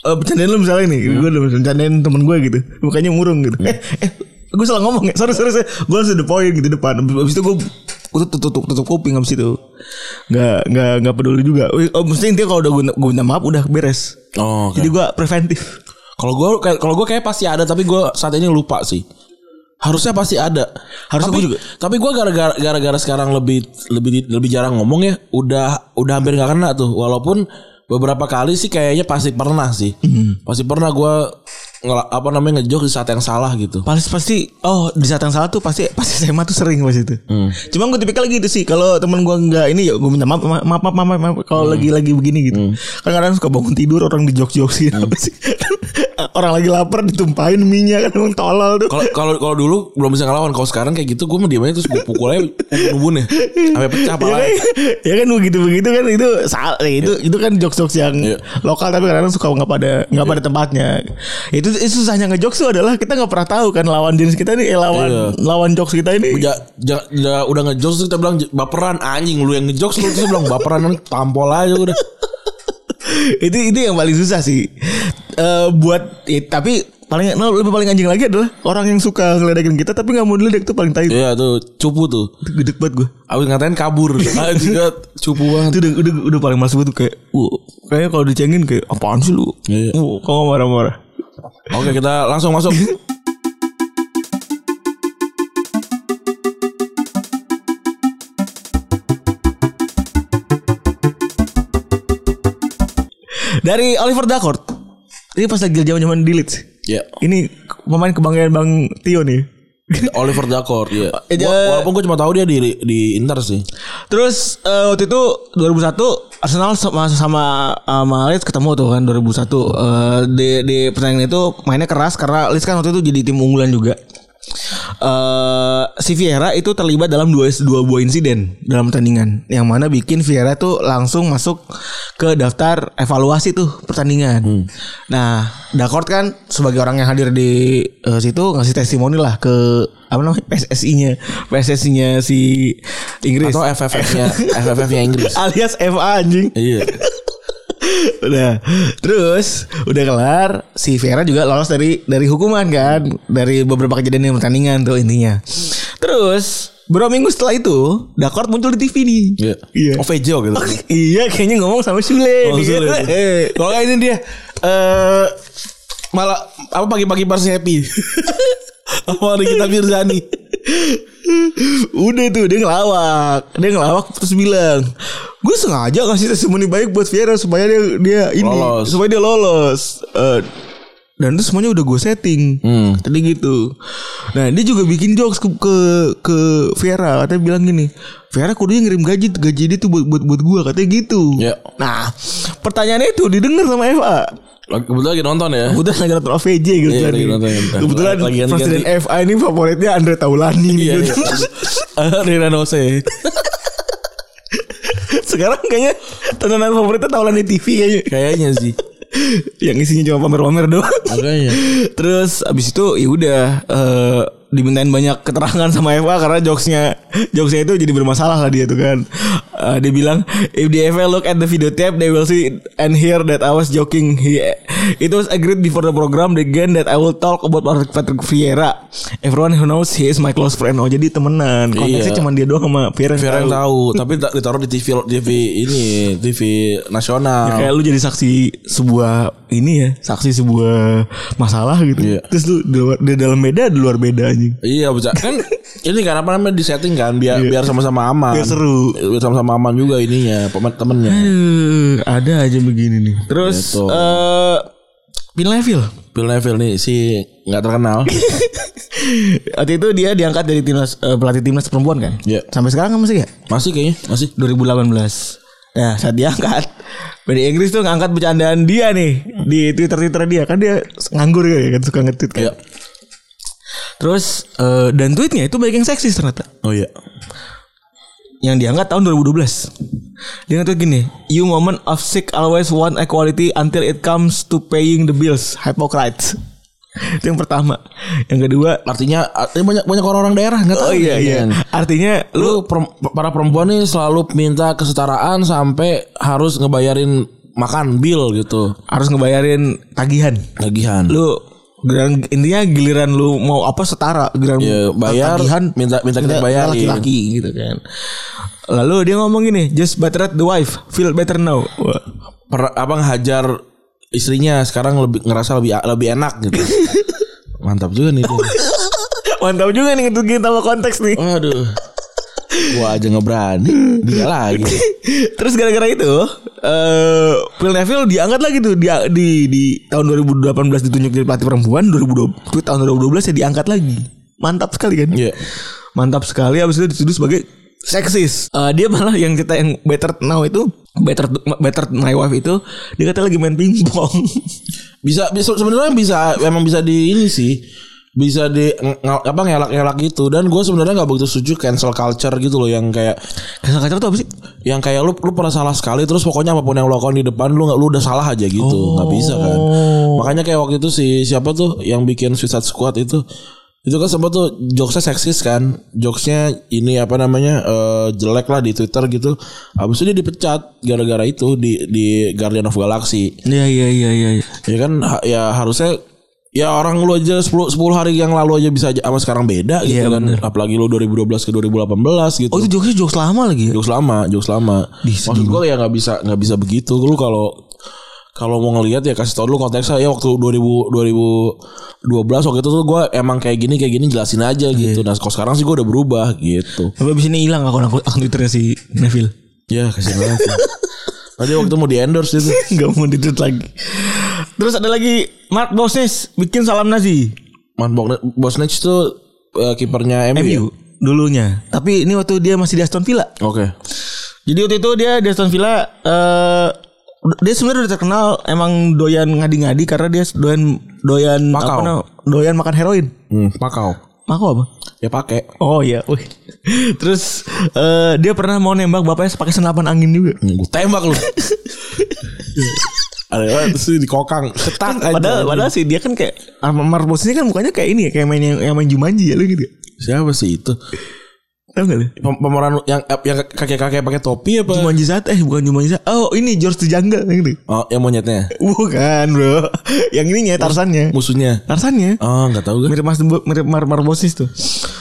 [SPEAKER 2] Eh bercandain lu misalnya nih, gue udah bercandain temen gue gitu, mukanya murung gitu. Eh, eh, gue salah ngomong ya, sorry sorry, sorry. gue langsung the point gitu depan. Abis itu gue tutup, tutup, tutup kuping abis itu. Nggak, nggak, nggak peduli juga. Oh, mesti intinya kalau udah gue, gue minta maaf udah beres.
[SPEAKER 3] Oh,
[SPEAKER 2] Jadi gue preventif.
[SPEAKER 3] Kalau gue kalau gue kayak pasti ada tapi gue saat ini lupa sih. Harusnya pasti ada.
[SPEAKER 2] Harusnya
[SPEAKER 3] tapi,
[SPEAKER 2] gua juga.
[SPEAKER 3] Tapi gue gara-gara gara-gara sekarang lebih lebih lebih jarang ngomong ya. Udah udah hampir nggak kena tuh. Walaupun beberapa kali sih kayaknya pasti pernah sih. Pasti pernah gue apa namanya ngejok di saat yang salah gitu.
[SPEAKER 2] Pasti pasti oh di saat yang salah tuh pasti pasti SMA tuh sering pas itu.
[SPEAKER 3] Hmm.
[SPEAKER 2] Cuma gue tipikal gitu sih kalau temen gue nggak ini ya gue minta maaf maaf maaf, maaf, maaf, maaf kalau
[SPEAKER 3] Hmm.
[SPEAKER 2] lagi lagi begini gitu. Kadang-kadang suka bangun tidur orang di jok joksin
[SPEAKER 3] Hmm.
[SPEAKER 2] apa sih. orang lagi lapar ditumpahin minyak kan emang tolol tuh.
[SPEAKER 3] Kalau kalau kalau dulu belum bisa ngelawan. Kalau sekarang kayak gitu gue mendiamnya terus gue pukul aja ubun-ubun ya. Sampai pecah
[SPEAKER 2] Ya
[SPEAKER 3] pala.
[SPEAKER 2] kan, ya kan begitu begitu kan itu salah itu itu kan jokes jokes yang
[SPEAKER 3] Iya.
[SPEAKER 2] lokal tapi kadang-kadang suka nggak pada nggak pada tempatnya itu, itu susahnya ngejokes tuh adalah kita nggak pernah tahu kan lawan jenis kita nih eh, lawan
[SPEAKER 3] Iya.
[SPEAKER 2] lawan jokes kita ini
[SPEAKER 3] Ja, ja- ja- udah ngejokes terus kita bilang "J- baperan anjing lu yang ngejokes lu terus bilang baperan kan tampol aja udah.
[SPEAKER 2] itu itu yang paling susah sih Eh buat ya, tapi paling no, lebih paling anjing lagi adalah orang yang suka ngeledekin kita tapi nggak mau diledek tuh paling tai itu
[SPEAKER 3] Iya tuh cupu tuh.
[SPEAKER 2] gede banget gue
[SPEAKER 3] Abis ngatain kabur Ah, juga cupu banget
[SPEAKER 2] itu udah, udah, udah paling masuk banget tuh kayak wow kayaknya kalau dicengin kayak apaan sih lu
[SPEAKER 3] Iya.
[SPEAKER 2] wow kok nggak marah-marah
[SPEAKER 3] Oke kita langsung masuk
[SPEAKER 2] Dari Oliver Dacourt. Ini pas lagi zaman-zaman di Leeds.
[SPEAKER 3] Ya.
[SPEAKER 2] Ini pemain kebanggaan Bang Tio nih.
[SPEAKER 3] Oliver Dacourt ya.
[SPEAKER 2] Eh, dia-
[SPEAKER 3] Walaupun gue cuma tahu dia di di Inter sih.
[SPEAKER 2] Terus eh, waktu itu 2001 Arsenal sama sama eh, sama Leeds ketemu tuh kan 2001. Eh, di di pertandingan itu mainnya keras karena Leeds kan waktu itu jadi tim unggulan juga. Eh si Vieira itu terlibat dalam dua dua buah insiden dalam pertandingan yang mana bikin Vieira tuh langsung masuk ke daftar evaluasi tuh pertandingan. Nah, Dakort kan sebagai orang yang hadir di eh, situ ngasih testimoni lah ke apa namanya PSSI-nya, PSSI-nya si Inggris
[SPEAKER 3] Atau FFF-nya FFF-nya Inggris.
[SPEAKER 2] alias FA anjing.
[SPEAKER 3] Iya.
[SPEAKER 2] Udah. Terus udah kelar si Vera juga lolos dari dari hukuman kan, dari beberapa kejadian yang pertandingan tuh intinya. Terus beberapa minggu setelah itu, Dakort muncul di TV nih.
[SPEAKER 3] Iya.
[SPEAKER 2] Iya.
[SPEAKER 3] Ovejo gitu.
[SPEAKER 2] iya, kayaknya ngomong sama Sule.
[SPEAKER 3] Kalau
[SPEAKER 2] nih.
[SPEAKER 3] nggak
[SPEAKER 2] Eh,
[SPEAKER 3] salah. Kalau nggak ini dia eh malah apa pagi-pagi pers happy. Sama Nikita Mirzani.
[SPEAKER 2] Udah tuh dia ngelawak Dia ngelawak terus bilang Gue sengaja ngasih testimoni baik buat Viera Supaya dia, dia ini
[SPEAKER 3] Lolos.
[SPEAKER 2] Supaya dia lolos Eh, Dan itu semuanya udah gue setting
[SPEAKER 3] Hmm.
[SPEAKER 2] Tadi gitu Nah dia juga bikin jokes ke ke, ke Viera Katanya bilang gini Viera kudunya ngirim gaji Gaji dia tuh buat, buat, buat gue Katanya gitu
[SPEAKER 3] Ya.
[SPEAKER 2] Nah pertanyaannya itu didengar sama FA
[SPEAKER 3] Lagi- Kebetulan lagi nonton ya.
[SPEAKER 2] Kebetulan lagi nonton OVJ gitu
[SPEAKER 3] Iya,
[SPEAKER 2] kan
[SPEAKER 3] lagi nonton.
[SPEAKER 2] Kebetulan
[SPEAKER 3] Lagi ganti-ganti.
[SPEAKER 2] Presiden FA ini favoritnya Andre Taulani
[SPEAKER 3] Iya.
[SPEAKER 2] gitu.
[SPEAKER 3] iya. Rina Nose.
[SPEAKER 2] Sekarang kayaknya tontonan favoritnya tawalan di TV kayaknya.
[SPEAKER 3] Kayaknya sih.
[SPEAKER 2] Yang isinya cuma pamer-pamer doang.
[SPEAKER 3] Makanya.
[SPEAKER 2] Terus abis itu ya udah eh, dimintain banyak keterangan sama FA karena jokesnya jokesnya itu jadi bermasalah lah dia tuh kan. Eh, dia bilang if the FA look at the video tape they will see and hear that I was joking. He, it was agreed before the program again that I will talk about Patrick, Patrick Vieira. Everyone who knows he is my close friend. Oh jadi temenan. Konteksnya
[SPEAKER 3] Iya.
[SPEAKER 2] cuma dia doang sama Vieira. yang
[SPEAKER 3] Vera yang
[SPEAKER 2] tahu.
[SPEAKER 3] tahu, tapi ta- ditaruh di TV TV ini, TV nasional.
[SPEAKER 2] Ya, kayak lu jadi saksi sebuah ini ya, saksi sebuah masalah gitu.
[SPEAKER 3] Iya.
[SPEAKER 2] Terus lu di, luar, di dalam beda, di luar beda anjing.
[SPEAKER 3] Iya bisa kan ini kan apa namanya disetting kan biar biar sama-sama aman.
[SPEAKER 2] Iya. Biar seru.
[SPEAKER 3] Biar sama-sama aman juga ininya pemen- temennya.
[SPEAKER 2] Eh, ada aja begini nih. Terus
[SPEAKER 3] Betul.
[SPEAKER 2] eh Pin Leville.
[SPEAKER 3] Bill Neville nih si nggak terkenal.
[SPEAKER 2] Waktu itu dia diangkat dari timnas eh, pelatih timnas perempuan kan?
[SPEAKER 3] Iya.
[SPEAKER 2] Sampai sekarang kan masih ya?
[SPEAKER 3] masih kayaknya masih.
[SPEAKER 2] 2018. Nah, saat diangkat Dari Inggris tuh ngangkat bercandaan dia nih di Twitter-Twitter dia kan dia nganggur ya kan suka nge-tweet kan.
[SPEAKER 3] Iya.
[SPEAKER 2] Terus eh, dan tweetnya itu banyak yang seksis ternyata.
[SPEAKER 3] Oh iya.
[SPEAKER 2] yang diangkat tahun 2012. Dia ngatur gini, you moment of sick always want equality until it comes to paying the bills. Hypocrites. Itu yang pertama. Yang kedua,
[SPEAKER 3] Artinya artinya banyak banyak orang-orang daerah nggak
[SPEAKER 2] oh
[SPEAKER 3] tahu.
[SPEAKER 2] iya
[SPEAKER 3] ya
[SPEAKER 2] iya.
[SPEAKER 3] kan.
[SPEAKER 2] Artinya lu
[SPEAKER 3] Lu per- para perempuan nih selalu minta kesetaraan sampai harus ngebayarin makan bill gitu.
[SPEAKER 2] harus ngebayarin tagihan.
[SPEAKER 3] Tagihan.
[SPEAKER 2] Lu giliran intinya giliran lu mau apa setara, giliran
[SPEAKER 3] Ya, bayar, minta- minta kita bayarin.
[SPEAKER 2] Laki-laki gitu kan. Lalu dia ngomong gini, just better at the wife, feel better now. Wah.
[SPEAKER 3] per, apa ngehajar istrinya sekarang lebih ngerasa lebih lebih enak gitu. Mantap juga nih dia.
[SPEAKER 2] Mantap juga nih ngetukin sama konteks nih.
[SPEAKER 3] Waduh. Gua aja ngeberani. Dia lagi.
[SPEAKER 2] Terus gara-gara itu eh Phil Neville diangkat lagi tuh di, di di tahun 2018 ditunjuk jadi pelatih perempuan 2020 tahun 2012 ya diangkat lagi. Mantap sekali kan?
[SPEAKER 3] Iya.
[SPEAKER 2] Mantap sekali habis itu dituduh sebagai seksis. Eh, dia malah yang cerita yang better now itu better better my wife itu dia kata lagi main pingpong.
[SPEAKER 3] Bisa bisa sebenarnya bisa emang bisa di ini sih. Bisa di ng- ng- apa ngelak-ngelak gitu dan gue sebenarnya nggak begitu setuju cancel culture gitu loh yang kayak
[SPEAKER 2] Kasar kacau tuh apa sih?
[SPEAKER 3] yang kayak lu lu pernah salah sekali terus pokoknya apapun yang lu lakukan di depan lu nggak lu udah salah aja gitu
[SPEAKER 2] Oh.
[SPEAKER 3] nggak bisa kan makanya kayak waktu itu si siapa tuh yang bikin Suicide Squad itu itu kan sempat tuh jokesnya seksis kan jokesnya ini apa namanya eh, jelek lah di Twitter gitu abis itu dia dipecat gara-gara itu di di Guardian of Galaxy
[SPEAKER 2] Iya iya iya iya.
[SPEAKER 3] ya kan ha- ya harusnya ya orang lu aja 10, 10 hari yang lalu aja bisa aja sama sekarang beda gitu
[SPEAKER 2] Iya,
[SPEAKER 3] kan apalagi lu 2012 ke 2018 gitu
[SPEAKER 2] Oh itu jokesnya jokes lama lagi ya?
[SPEAKER 3] jokes lama jokes lama maksud gue ya nggak bisa nggak bisa begitu lu kalau kalau mau ngelihat ya kasih tau dulu konteksnya ya waktu 2000 2012 waktu itu tuh gue emang kayak gini kayak gini jelasin aja gitu nah kalau sekarang sih gue udah berubah gitu
[SPEAKER 2] Tapi abis ini hilang akun akun akun Twitternya si Neville.
[SPEAKER 3] ya kasih banget Nanti waktu mau di endorse itu.
[SPEAKER 2] Gak mau didut lagi. Terus ada lagi Mark Bosnes bikin salam Nazi.
[SPEAKER 3] Man Bosnich itu eh, kipernya MU. ya?
[SPEAKER 2] MU dulunya. Oh iya. Tapi ini waktu dia masih di Aston Villa.
[SPEAKER 3] Oke.
[SPEAKER 2] Jadi waktu itu dia di Aston Villa eh dia sebenarnya udah terkenal emang doyan ngadi-ngadi karena dia doyan doyan
[SPEAKER 3] Makau.
[SPEAKER 2] namanya? doyan makan heroin.
[SPEAKER 3] Hmm, Makau.
[SPEAKER 2] Makau apa?
[SPEAKER 3] Ya pakai.
[SPEAKER 2] Oh iya, wih. Terus eh dia pernah mau nembak bapaknya pakai senapan angin juga.
[SPEAKER 3] Hmm, Gue tembak lu. Ada banget sih di kokang. Ketak aja.
[SPEAKER 2] Padahal, padahal sih dia kan kayak Amar Bosnya kan mukanya kayak ini ya, kayak main yang, yang main Jumanji ya lu gitu.
[SPEAKER 3] Siapa sih itu?
[SPEAKER 2] Tahu gak lu?
[SPEAKER 3] Pem- Pemeran yang eh, yang kakek-kakek pakai topi apa?
[SPEAKER 2] Jumanji saat eh bukan Jumanji saat. Oh, ini George the Jungle yang gitu.
[SPEAKER 3] Oh, yang monyetnya.
[SPEAKER 2] Bukan, Bro. Yang ininya Tarsannya.
[SPEAKER 3] Musuhnya.
[SPEAKER 2] Tarsannya.
[SPEAKER 3] Oh, enggak tahu gue.
[SPEAKER 2] mirip Mas mirip Mar Marbosis tuh.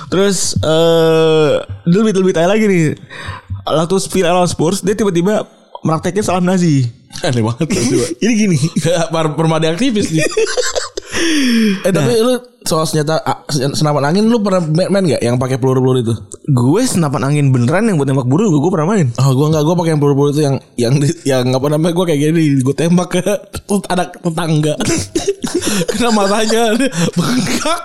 [SPEAKER 2] Terus eh dulu lebih lebih lagi nih. Waktu Spill lawan Spurs dia tiba-tiba praktekin salam Nazi.
[SPEAKER 3] Aneh banget tuh.
[SPEAKER 2] Ini gini.
[SPEAKER 3] Par permadi aktivis nih. eh tapi lu soal senjata a- sen- senapan angin lu pernah main, main gak yang pakai peluru-peluru itu?
[SPEAKER 2] Gue senapan angin beneran yang buat nembak burung gue, gue pernah main.
[SPEAKER 3] Oh gua enggak, gua pakai yang peluru-peluru itu yang yang di- yang apa namanya gua kayak gini, gua tembak ke tet- anak tetangga. Kena matanya dia bengkak.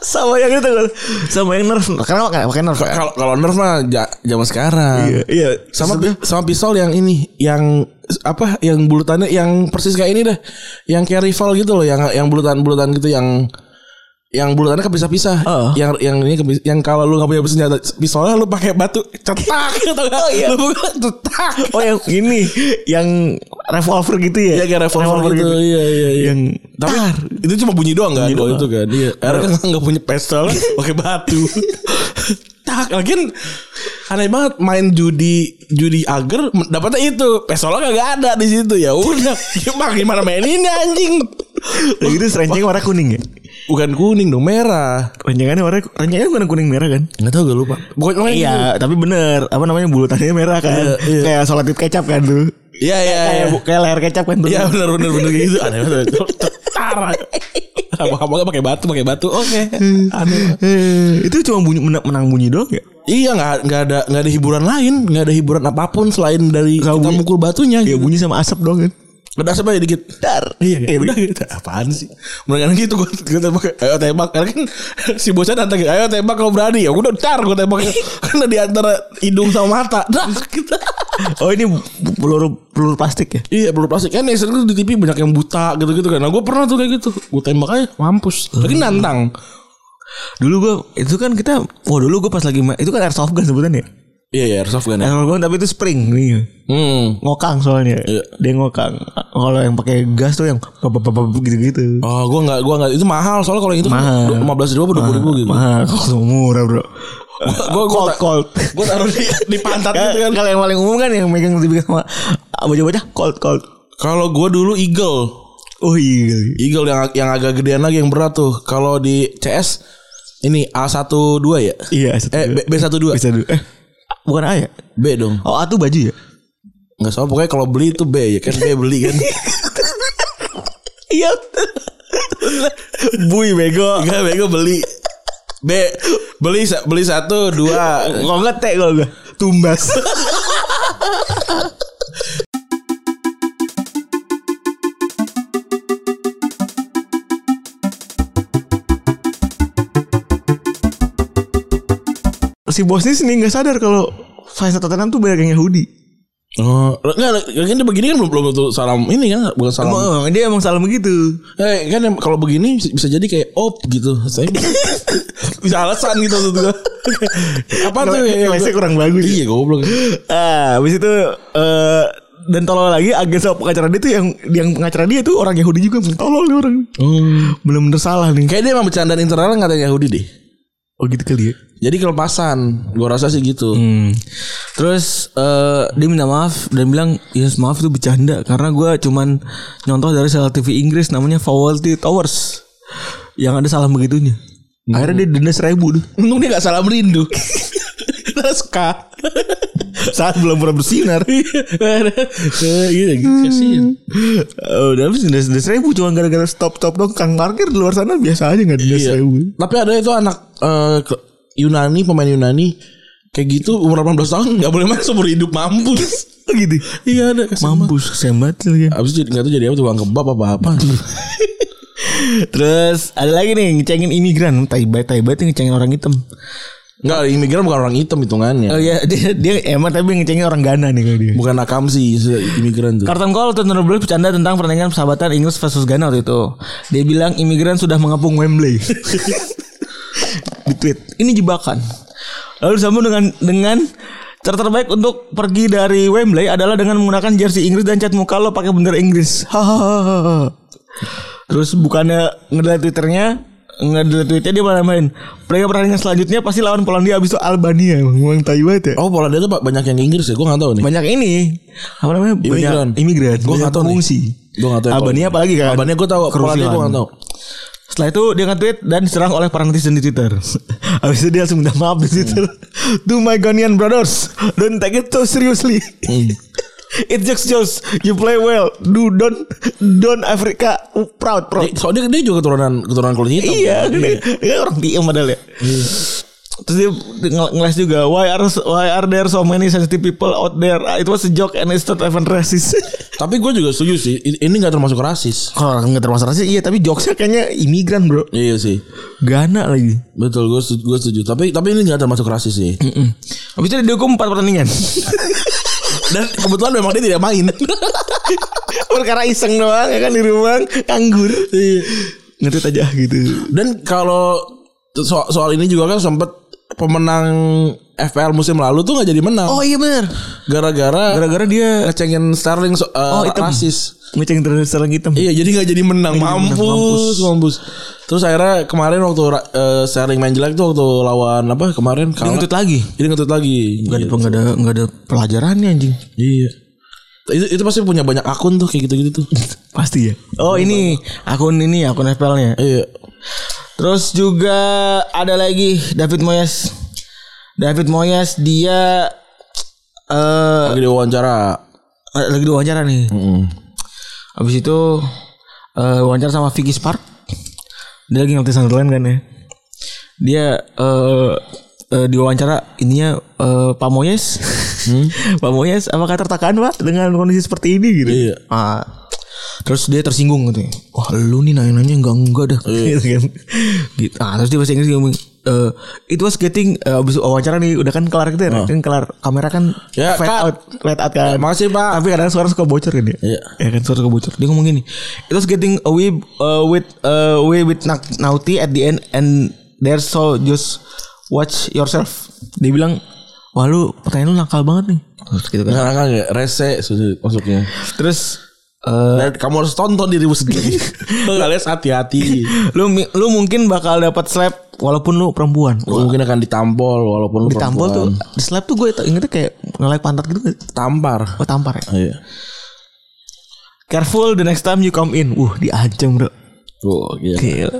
[SPEAKER 2] Sama yang itu kan. Sama yang nerf. Karena pakai pakai nerf. kan?
[SPEAKER 3] Eh, Kalau kalau nerf mah ja- zaman sekarang.
[SPEAKER 2] Iya, iya.
[SPEAKER 3] Sama pi- sama pistol yang ini, yang s- apa yang bulutannya yang persis kayak ini dah. Yang kayak rival gitu loh, yang yang bulutan-bulutan gitu yang yang bulutannya kepisah-pisah.
[SPEAKER 2] Heeh.
[SPEAKER 3] Yang yang ini kepis- yang kalau lu nggak punya senjata pistolnya lu pakai batu cetak gitu kan.
[SPEAKER 2] iya.
[SPEAKER 3] Lu pukul, cetak.
[SPEAKER 2] Oh yang ini yang revolver gitu ya.
[SPEAKER 3] Iya kayak revolver, gitu. Iya iya iya.
[SPEAKER 2] Yang
[SPEAKER 3] Tapi itu cuma bunyi doang kan? Bunyi itu kan. Iya. Karena kan enggak punya pistol, pakai batu. tak, lagian aneh banget main judi judi agar dapatnya itu. Pistolnya kagak ada di situ ya. Udah, gimana gimana maininnya anjing?
[SPEAKER 2] Yang itu renceng warna kuning ya.
[SPEAKER 3] Bukan kuning dong, merah.
[SPEAKER 2] Rencengannya warna rencengannya bukan kuning merah kan?
[SPEAKER 3] Enggak tahu gue lupa. Pokoknya iya.
[SPEAKER 2] Iya, tapi bener apa namanya bulutannya merah kan,
[SPEAKER 3] iya.
[SPEAKER 2] kayak sholat id kecap kan tuh,
[SPEAKER 3] Iya iya.
[SPEAKER 2] kayak
[SPEAKER 3] iya.
[SPEAKER 2] bu- kayak leher kecap kan tuh.
[SPEAKER 3] Iya benar benar benar kayak gitu. Aneh banget. Cetar. Apa-apa pakai batu, pakai batu. Oke. Aneh.
[SPEAKER 2] Eh, itu cuma bunyi menang, menang bunyi doang ya?
[SPEAKER 3] Iya nggak nggak ada nggak ada hiburan lain nggak ada hiburan apapun selain dari
[SPEAKER 2] Kalau
[SPEAKER 3] kita
[SPEAKER 2] bunyi-
[SPEAKER 3] mukul batunya.
[SPEAKER 2] Ya
[SPEAKER 3] Iya,
[SPEAKER 2] bunyi sama asap doang kan?
[SPEAKER 3] ada asapnya ya, dikit. Dar. Iya. Kayak udah gitu. Apaan sih? Mereka gitu gue tembak. Ayo tembak. Karena kan si bocah datang. Ayo tembak kalau berani. Ya udah dar gue tembak. Karena di antara hidung sama mata. Dar. Gitu.
[SPEAKER 2] Oh ini bu- peluru peluru plastik ya?
[SPEAKER 3] Iya peluru plastik Kan Nation tuh di TV banyak yang buta gitu-gitu kan Nah gue pernah tuh kayak gitu Gue tembak aja Mampus Lagi nantang
[SPEAKER 2] Dulu gua itu kan kita, wah dulu gua pas lagi ma- itu kan airsoft gun sebutannya.
[SPEAKER 3] Iya iya Airsoft gun ya
[SPEAKER 2] Airsoft gun tapi itu spring nih.
[SPEAKER 3] Hmm
[SPEAKER 2] Ngokang soalnya.
[SPEAKER 3] Iya.
[SPEAKER 2] Dia ngokang. Kalau yang pakai gas tuh yang pop, pop, pop, pop gitu-gitu.
[SPEAKER 3] Oh gue gak, gua gak Itu mahal Soalnya kalau yang itu
[SPEAKER 2] Mahal.
[SPEAKER 3] 15 ribu apa 20 ribu gitu
[SPEAKER 2] Mahal, kalau murah bro.
[SPEAKER 3] Gue
[SPEAKER 2] Cold cold.
[SPEAKER 3] Gue taruh di, di pantat gitu kan.
[SPEAKER 2] Kalau yang paling umum kan yang megang dibikin sama "Ah, bocah-bocah cold cold.
[SPEAKER 3] Kalau gue dulu Eagle,
[SPEAKER 2] Oh iya.
[SPEAKER 3] Eagle yang yang agak gedean lagi yang berat tuh. Kalau di CS ini A12 ya?
[SPEAKER 2] Iya, satu
[SPEAKER 3] Eh B,
[SPEAKER 2] dua.
[SPEAKER 3] B12.
[SPEAKER 2] bisa dulu. Eh, bukan A ya?
[SPEAKER 3] B dong.
[SPEAKER 2] Oh, A tuh baju ya?
[SPEAKER 3] Enggak salah pokoknya kalau beli itu B ya kan B beli kan.
[SPEAKER 2] Iya. Bui bego.
[SPEAKER 3] Enggak bego beli. B beli sa- beli satu dua
[SPEAKER 2] Kalau enggak teh kalau enggak tumbas. si bosnya sini nggak sadar kalau fans Tottenham tuh banyak yang Yahudi.
[SPEAKER 3] Oh, enggak, kan dia begini kan belum belum tuh salam ini kan bukan salam.
[SPEAKER 2] Emang, emang dia emang gitu. salah begitu.
[SPEAKER 3] Eh, kan yang- kalau begini bisa- bisa jadi kayak op gitu. Saya bisa alasan gitu tuh. Apa tuh ya?
[SPEAKER 2] Lesnya iya, kurang bagus.
[SPEAKER 3] Iya goblok.
[SPEAKER 2] Ah, habis itu eh dan tolol lagi agen sama pengacara dia tuh yang yang pengacara dia tuh orang Yahudi juga tolol nih orang
[SPEAKER 3] Hmm.
[SPEAKER 2] belum bener salah nih
[SPEAKER 3] Kayak dia emang bercandaan internal ngatain Yahudi deh.
[SPEAKER 2] oh gitu kali ya
[SPEAKER 3] Jadi kelepasan, gua rasa sih gitu.
[SPEAKER 2] Hmm. terus eh dia minta maaf dan bilang ya maaf itu bercanda karena gue cuman nyontoh dari salah TV Inggris namanya Faulty Towers yang ada salah begitunya akhirnya dia denda seribu tuh
[SPEAKER 3] Untung dia gak salah merindu. Terus kak.
[SPEAKER 2] saat belum pernah bersinar
[SPEAKER 3] Iya, gitu kasihan.
[SPEAKER 2] Eh, udah habis denda denda seribu cuma gara-gara stop stop dong kang parkir di luar sana biasa aja nggak denda seribu
[SPEAKER 3] Tapi ada itu anak eh, ke- Yunani, pemain Yunani kayak gitu umur 18 tahun nggak boleh main seumur hidup mampus.
[SPEAKER 2] gitu.
[SPEAKER 3] Iya ada kasihan banget.
[SPEAKER 2] Mampus kesian banget sih lagi.
[SPEAKER 3] Abis itu jadi nggak tahu jadi apa tukang kebab apa apa.
[SPEAKER 2] Terus ada lagi nih ngecengin imigran, taibat taibat tuh ngecengin orang hitam.
[SPEAKER 3] Enggak imigran bukan orang hitam hitungannya.
[SPEAKER 2] Oh iya dia, dia emang tapi ngecengin orang Ghana nih kalau dia.
[SPEAKER 3] Bukan nakam sih se- imigran tuh.
[SPEAKER 2] Carlton Cole tahun 2012 bercanda tentang pertandingan persahabatan Inggris versus Ghana waktu itu. Dia bilang imigran sudah mengepung Wembley. Di tweet. Ini jebakan. Lalu disambung dengan dengan cara terbaik untuk pergi dari Wembley adalah dengan menggunakan jersey Inggris dan cat muka lo pakai bendera Inggris. Hahaha. Terus bukannya ngedelete Twitternya ngedelete tweetnya dia malah main Player pertandingan selanjutnya pasti lawan Polandia abis itu Albania Emang tai banget ya
[SPEAKER 3] Oh pola dia tuh Pak, banyak yang ke Inggris ya, gue nggak tahu nih.
[SPEAKER 2] banyak ini apa namanya
[SPEAKER 3] Imigran.
[SPEAKER 2] banyak imigran
[SPEAKER 3] Gua nggak
[SPEAKER 2] banyak
[SPEAKER 3] tahu nih.
[SPEAKER 2] pengungsi
[SPEAKER 3] Gua nggak tahu.
[SPEAKER 2] Albania apalagi kan
[SPEAKER 3] Abannya gue tahu, pola dia gue nggak tahu.
[SPEAKER 2] setelah itu dia nge-tweet dan diserang oleh para netizen di Twitter. Hmm. Habis itu dia langsung minta maaf di Twitter. To my Ghanaian brothers, don't take it so seriously. It just shows you play well. Do don't don't Africa proud proud.
[SPEAKER 3] Eh, Soalnya dia juga keturunan keturunan kulit hitam.
[SPEAKER 2] Iya, iya. orang diem padahal ya. Terus dia ng- ngeles juga Why are why are there so many sensitive people out there It was a joke and it's not even racist
[SPEAKER 3] Tapi gue juga setuju sih, i- ini nggak termasuk rasis.
[SPEAKER 2] Kalau orang gak termasuk rasis Iya tapi jokesnya kayaknya imigran bro
[SPEAKER 3] Iya sih,
[SPEAKER 2] Gana lagi
[SPEAKER 3] betul gue setuju, gue setuju. Tapi tapi ini nggak termasuk rasis sih.
[SPEAKER 2] Mm. Habis itu dia dihukum 4 pertandingan
[SPEAKER 3] Dan kebetulan memang dia tidak main.
[SPEAKER 2] Perkara iseng doang ya kan di rumah Nganggur Ngetweet aja gitu
[SPEAKER 3] Dan kalau so- soal ini juga kan sempet pemenang FPL musim lalu tuh nggak jadi menang.
[SPEAKER 2] Oh iya bener
[SPEAKER 3] Gara-gara
[SPEAKER 2] Gara-gara dia
[SPEAKER 3] ngecengin Sterling so, uh,
[SPEAKER 2] Oh, hitam.
[SPEAKER 3] rasis.
[SPEAKER 2] Ngeceng terus serang hitam
[SPEAKER 3] Iya jadi nggak jadi menang
[SPEAKER 2] Nggak jadi menang,
[SPEAKER 3] mampus, mampus Terus akhirnya kemarin waktu uh, Sterling main jelek tuh waktu lawan apa kemarin
[SPEAKER 2] Dia
[SPEAKER 3] kalah.
[SPEAKER 2] ngetweet lagi
[SPEAKER 3] Jadi ngetut lagi.
[SPEAKER 2] Gak ada, nggak ada, nggak ada pelajarannya anjing
[SPEAKER 3] Iya. Itu, itu pasti punya banyak akun tuh kayak gitu-gitu tuh.
[SPEAKER 2] Pasti ya. Oh ini akun ini akun FPL-nya.
[SPEAKER 3] iya.
[SPEAKER 2] Terus juga ada lagi David Moyes. David Moyes dia eh
[SPEAKER 3] Lagi diwawancara.
[SPEAKER 2] lagi diwawancara nih.
[SPEAKER 3] Mm.
[SPEAKER 2] Habis itu eh wawancara sama Vicky Spark. Dia lagi ngelatih Sunderland kan ya. Dia eh eh, diwawancara ininya eh, Pak Moyes. Pak Moyes apakah tertekan Pak dengan kondisi seperti ini gitu.
[SPEAKER 3] Iya.
[SPEAKER 2] Ah, terus dia tersinggung gitu. ya. Wah, lu nih nanya-nanya enggak enggak dah. gitu kan. Gitu. Ah, terus dia bahasa Inggris ngomong eh it was getting eh, abis wawancara nih udah kan kelar gitu ya. Kan kelar kamera kan
[SPEAKER 3] Ya,
[SPEAKER 2] fade
[SPEAKER 3] cut.
[SPEAKER 2] out, fade out kan.
[SPEAKER 3] Eh, Makasih Pak.
[SPEAKER 2] Tapi kadang suara suka bocor kan dia.
[SPEAKER 3] Iya.
[SPEAKER 2] Ya kan suara suka bocor. Dia ngomong gini. It was getting away uh, with uh, away with na- naughty at the end and there so just watch yourself. Dia bilang, "Wah lu pertanyaan lu nakal banget nih." Terus gitu kan.
[SPEAKER 3] Kadang-kadang nggak rese sudah masuknya.
[SPEAKER 2] Terus eh,
[SPEAKER 3] Dan kamu harus tonton dirimu sendiri. Kalian hati-hati.
[SPEAKER 2] lu mi- lu mungkin bakal dapat slap walaupun lu perempuan.
[SPEAKER 3] Lu mungkin akan ditampol walaupun lu
[SPEAKER 2] Ditampol tuh,
[SPEAKER 3] perempuan.
[SPEAKER 2] di slap tuh gue ingetnya kayak ngelai pantat gitu. nggak sih?
[SPEAKER 3] tampar.
[SPEAKER 2] Oh tampar ya.
[SPEAKER 3] Iya.
[SPEAKER 2] Careful the next time you come in. Uh, diancam, Bro.
[SPEAKER 3] Tuh, iya.
[SPEAKER 2] Gila.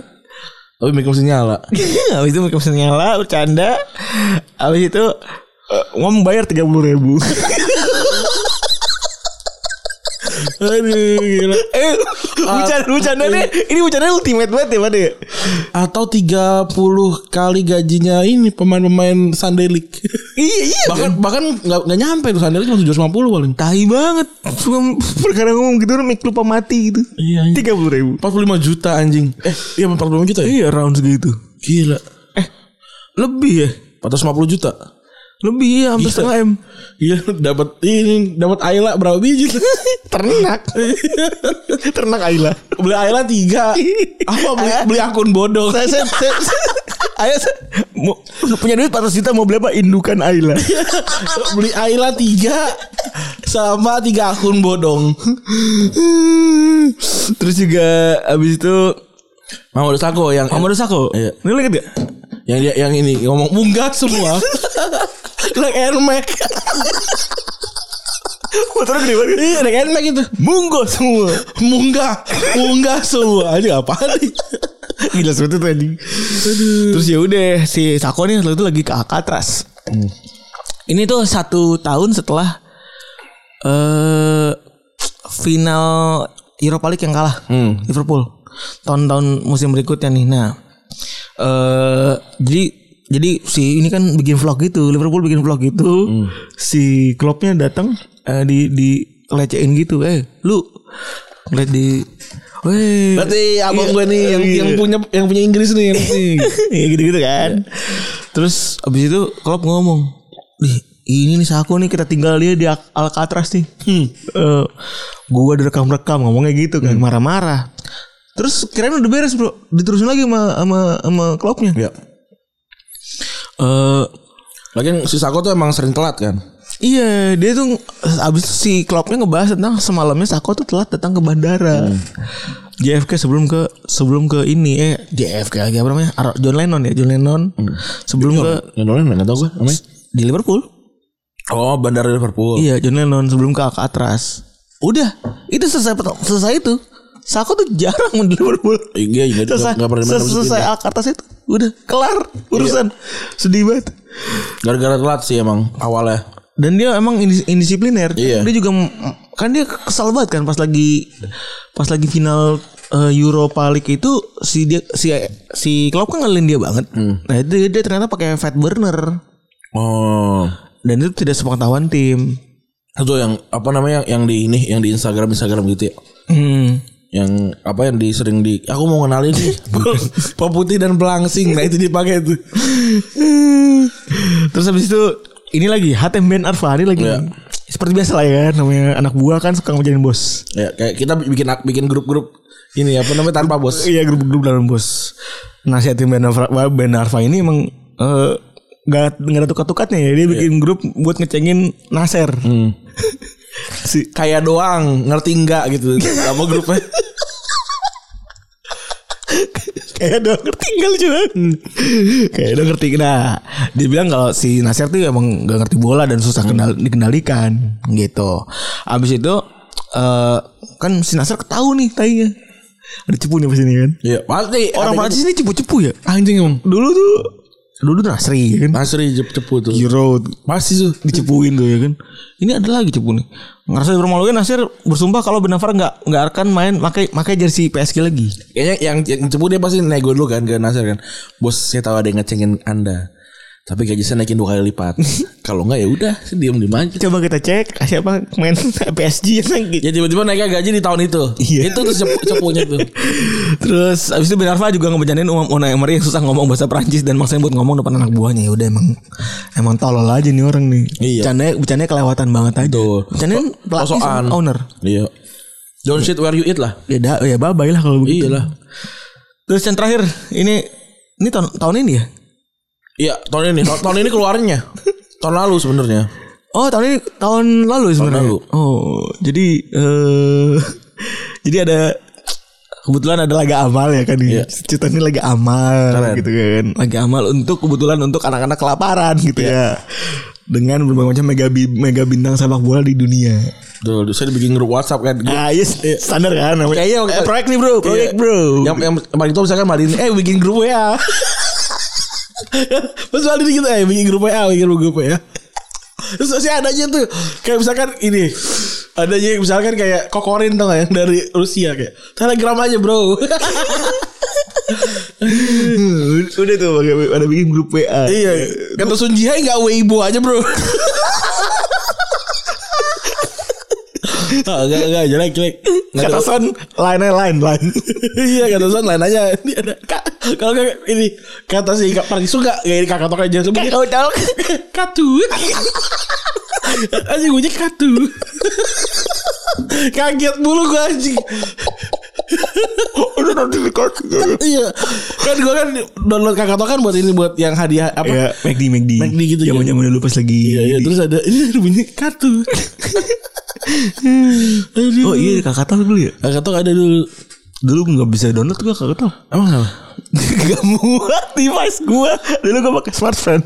[SPEAKER 3] Tapi make up nyala.
[SPEAKER 2] Habis itu mereka nyala bercanda. Habis itu eh, ngomong bayar tiga puluh ribu.
[SPEAKER 3] Aduh, gila.
[SPEAKER 2] eh, bercanda, bercanda nih. Ini bercanda ultimate banget ya, Pak. ya?
[SPEAKER 3] Atau 30 kali gajinya ini pemain-pemain Sunday League.
[SPEAKER 2] Iya, iya.
[SPEAKER 3] bahkan bahkan nggak nggak nyampe tuh Sunday League cuma 750 paling.
[SPEAKER 2] Tai banget. Cuma Perkara ngomong gitu orang make lupa mati gitu.
[SPEAKER 3] Iya, iya.
[SPEAKER 2] Tiga puluh ribu.
[SPEAKER 3] 45 juta anjing. Eh, iya 45 juta ya?
[SPEAKER 2] Iya, round segitu.
[SPEAKER 3] Gila.
[SPEAKER 2] Eh, lebih ya?
[SPEAKER 3] 450 juta.
[SPEAKER 2] Lebih ya, hampir setengah M.
[SPEAKER 3] Iya, dapat ini dapat Ayla berapa biji?
[SPEAKER 2] Ternak. Ternak Ayla.
[SPEAKER 3] beli Ayla 3. Apa beli, beli akun bodoh?
[SPEAKER 2] Saya, saya, saya, Ayo, saya, mau, punya duit 400 juta mau beli apa? Indukan Ayla.
[SPEAKER 3] beli Ayla 3 sama 3 akun bodong.
[SPEAKER 2] Terus juga abis itu
[SPEAKER 3] Mama udah sako yang
[SPEAKER 2] Mama Dosako
[SPEAKER 3] Iya.
[SPEAKER 2] Ini lu inget gak?
[SPEAKER 3] yang dia yang ini ngomong munggat semua. Like Air Max.
[SPEAKER 2] Motornya gede banget
[SPEAKER 3] Iya, like Air Max itu.
[SPEAKER 2] Munggo semua
[SPEAKER 3] Munggah, munggah semua. Ini apa nih?
[SPEAKER 2] Gila seperti itu anjing Terus ya udah Si Sako nih waktu itu lagi ke Alcatraz Ini tuh satu tahun setelah eh Final Europa League yang kalah
[SPEAKER 3] Hmm.
[SPEAKER 2] Liverpool Tahun-tahun musim berikutnya nih Nah eh Jadi jadi si ini kan bikin vlog gitu Liverpool bikin vlog gitu
[SPEAKER 3] Hmm.
[SPEAKER 2] si klubnya datang eh, di di lecehin gitu eh lu ngeliat di Weh,
[SPEAKER 3] Berarti abang
[SPEAKER 2] Iya.
[SPEAKER 3] gue nih yang,
[SPEAKER 2] Iya.
[SPEAKER 3] yang punya yang punya Inggris nih. yang penting.
[SPEAKER 2] ya gitu-gitu kan. Terus abis itu Klopp ngomong, "Nih, ini nih Sako nih kita tinggal dia di Al- Alcatraz nih." Hmm. gua direkam-rekam ngomongnya gitu kan, marah-marah. Terus kirain udah beres, Bro. Diterusin lagi sama sama sama Kloppnya.
[SPEAKER 3] Iya.
[SPEAKER 2] Eh,
[SPEAKER 3] Lagian si Sako tuh emang sering telat kan?
[SPEAKER 2] Iya, dia tuh abis itu si Kloppnya ngebahas tentang semalamnya Sako tuh telat datang ke bandara.
[SPEAKER 3] Hmm.
[SPEAKER 2] JFK sebelum ke sebelum ke ini eh JFK lagi apa namanya? Ar- John Lennon ya, John Lennon.
[SPEAKER 3] Hmm.
[SPEAKER 2] Sebelum ke
[SPEAKER 3] Yang Nolan nggak tahu gue namanya.
[SPEAKER 2] di Liverpool.
[SPEAKER 3] Oh, Bandara Liverpool.
[SPEAKER 2] Iya, John Lennon sebelum ke Alcatraz. Udah, itu selesai pertama- selesai itu. Sako tuh jarang main di Liverpool.
[SPEAKER 3] Iya, iya, nggak-
[SPEAKER 2] Selesai,
[SPEAKER 3] nggak pernah di mana-mana
[SPEAKER 2] selesai, selesai Alcatraz itu. Udah, kelar
[SPEAKER 3] Iya.
[SPEAKER 2] urusan. Sedih banget.
[SPEAKER 3] Gara-gara telat sih emang awalnya.
[SPEAKER 2] Dan dia emang indis- indisipliner.
[SPEAKER 3] Iya.
[SPEAKER 2] Dia juga m- kan dia kesal banget kan pas lagi pas lagi final eh, Europa League itu si dia si si Klopp kan ngelin dia banget.
[SPEAKER 3] Hmm.
[SPEAKER 2] Nah, itu dia ternyata pakai fat burner.
[SPEAKER 3] Oh.
[SPEAKER 2] Dan itu tidak sepengetahuan tim.
[SPEAKER 3] Itu yang apa namanya yang, yang di ini yang di Instagram Instagram gitu ya.
[SPEAKER 2] Hmm.
[SPEAKER 3] Yang apa yang di sering di aku mau kenalin nih peputih dan pelangsing. Nah, itu dipakai tuh.
[SPEAKER 2] Terus habis itu ini lagi Hatem Ben Arfani lagi.
[SPEAKER 3] Iya.
[SPEAKER 2] Seperti biasa lah ya kan, namanya anak buah kan suka ngejain bos.
[SPEAKER 3] Ya, kayak kita bikin bikin grup-grup ini apa namanya tanpa bos.
[SPEAKER 2] Iya grup-grup dalam bos. Nah si Hatem Ben, Arfa, ben Arfa ini emang eh, nggak nggak ada tukat-tukatnya ya. Dia bikin grup buat ngecengin Nasir. si
[SPEAKER 3] Kayak doang, ngerti enggak gitu. Sama grupnya.
[SPEAKER 2] kayak udah ngerti tinggal cuman kayak udah ngerti nah dia bilang kalau si Nasir tuh emang gak ngerti bola dan susah kendal- dikendalikan gitu abis itu eh kan si Nasir ketahu nih tainya ada cepu nih pas ini kan
[SPEAKER 3] Iya, pasti
[SPEAKER 2] orang
[SPEAKER 3] ada
[SPEAKER 2] Prancis ini cepu-cepu ya
[SPEAKER 3] anjing emang.
[SPEAKER 2] dulu tuh dulu tuh Nasri ya kan
[SPEAKER 3] Nasri jep-jepu tuh.
[SPEAKER 2] Euro
[SPEAKER 3] Pasti tuh.
[SPEAKER 2] dicepuin tuh ya kan ini ada lagi cepu nih ngerasa dipermalukan Nasir bersumpah kalau Benafar nggak nggak akan main pakai pakai jersey PSG lagi
[SPEAKER 3] Kayaknya yang, yang cepu dia pasti nego dulu kan ke Nasir kan. Bos saya tahu ada yang ngecengin Anda. Tapi gaji saya naikin dua kali lipat. Kalau enggak ya udah, saya diem di aja.
[SPEAKER 2] coba kita cek siapa main PSG yang lagi
[SPEAKER 3] Ya tiba-tiba naiknya gaji di tahun itu.
[SPEAKER 2] Iya.
[SPEAKER 3] Itu tuh cepu- cepunya tuh.
[SPEAKER 2] Terus abis itu Ben Arfa juga ngebecandain Umam Unai Emery yang susah ngomong bahasa Prancis dan maksain buat ngomong depan anak buahnya. Ya udah emang emang tolol aja nih orang nih.
[SPEAKER 3] Iya.
[SPEAKER 2] Bercandanya, bercandanya kelewatan banget aja.
[SPEAKER 3] Betul.
[SPEAKER 2] Bercandain pelatih sama
[SPEAKER 3] Sosokan.
[SPEAKER 2] owner.
[SPEAKER 3] Iya. Don't shit where you eat lah.
[SPEAKER 2] Ya da, ya bye lah kalau begitu.
[SPEAKER 3] Iya lah.
[SPEAKER 2] Terus yang terakhir ini ini tahun tahun ini ya?
[SPEAKER 3] Iya, tahun ini. Tahun tahun ini keluarnya. Tahun lalu sebenarnya.
[SPEAKER 2] Oh tahun ini tahun lalu ya sebenarnya.
[SPEAKER 3] lalu.
[SPEAKER 2] Oh jadi eh jadi ada kebetulan ada laga amal ya kan ya. Cerita ini laga amal
[SPEAKER 3] Iya. Keren.
[SPEAKER 2] gitu kan. Laga amal untuk kebetulan untuk anak-anak kelaparan
[SPEAKER 3] Iya.
[SPEAKER 2] gitu ya. Dengan berbagai macam mega bi- mega bintang sepak bola di dunia.
[SPEAKER 3] Tuh, saya bikin grup WhatsApp kan. Grup-
[SPEAKER 2] Ah yes, standar kan namanya.
[SPEAKER 3] Kayaknya Iya, waktu-
[SPEAKER 2] Eh, proyek nih bro, proyek
[SPEAKER 3] Iya.
[SPEAKER 2] bro.
[SPEAKER 3] Yang yang paling tua misalkan Madin, eh bikin grup WA. Terus Madin gitu, eh bikin grup WA, bikin grup WA. Terus masih ada aja tuh kayak misalkan ini ada aja yang misalkan kayak kokorin tau gak yang dari Rusia kayak telegram aja bro
[SPEAKER 2] Hmm, Udah tuh baga- ada bikin grup WA.
[SPEAKER 3] iya kata Sun Jihai nggak weibo aja bro Ah, enggak, enggak, jelek, jelek. Nggak
[SPEAKER 2] Kata
[SPEAKER 3] ada-
[SPEAKER 2] son lain lain lain.
[SPEAKER 3] iya kata Son lain aja ini ada kak kalau nggak ini kata si kak Parkisu nggak kayak ini kakak toko aja sebut
[SPEAKER 2] Odol.
[SPEAKER 3] katut anjing gue katut kaget mulu gue anjing
[SPEAKER 2] Udah notifikasi.
[SPEAKER 3] iya kan gue kan download kakak toko kan buat ini buat yang hadiah apa
[SPEAKER 2] ya McD McD
[SPEAKER 3] McD gitu
[SPEAKER 2] zaman zaman dulu pas lagi
[SPEAKER 3] Iya, iya, terus ada ini ada bunyi katut Aduh.
[SPEAKER 2] oh iya kakak tau dulu ya
[SPEAKER 3] kakak toko ada dulu
[SPEAKER 2] dulu nggak bisa download gua kakak tau
[SPEAKER 3] emang kenapa
[SPEAKER 2] gak muat device gua dulu gua pakai smartphone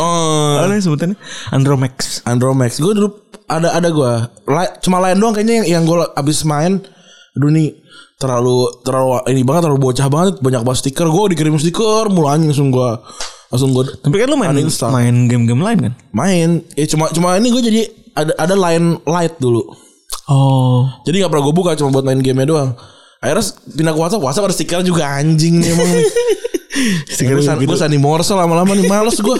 [SPEAKER 3] oh
[SPEAKER 2] apa namanya sebutannya Andromax
[SPEAKER 3] Andromax. Gue dulu ada ada gue. Cuma lain doang kayaknya yang, yang gue abis main. Aduh nih terlalu terlalu ini banget terlalu bocah banget banyak banget stiker gue dikirim stiker mulu anjing langsung gue langsung gue
[SPEAKER 2] tapi kan lu main
[SPEAKER 3] Uninstall.
[SPEAKER 2] main game-game lain kan
[SPEAKER 3] main ya cuma cuma ini gue jadi ada ada line light dulu
[SPEAKER 2] oh
[SPEAKER 3] jadi nggak pernah gue buka cuma buat main gamenya doang akhirnya s- pindah ke WhatsApp WhatsApp ada stiker juga anjing nih emang nih. Gue
[SPEAKER 2] gitu.
[SPEAKER 3] san, gua sandi morse lama-lama nih males gue.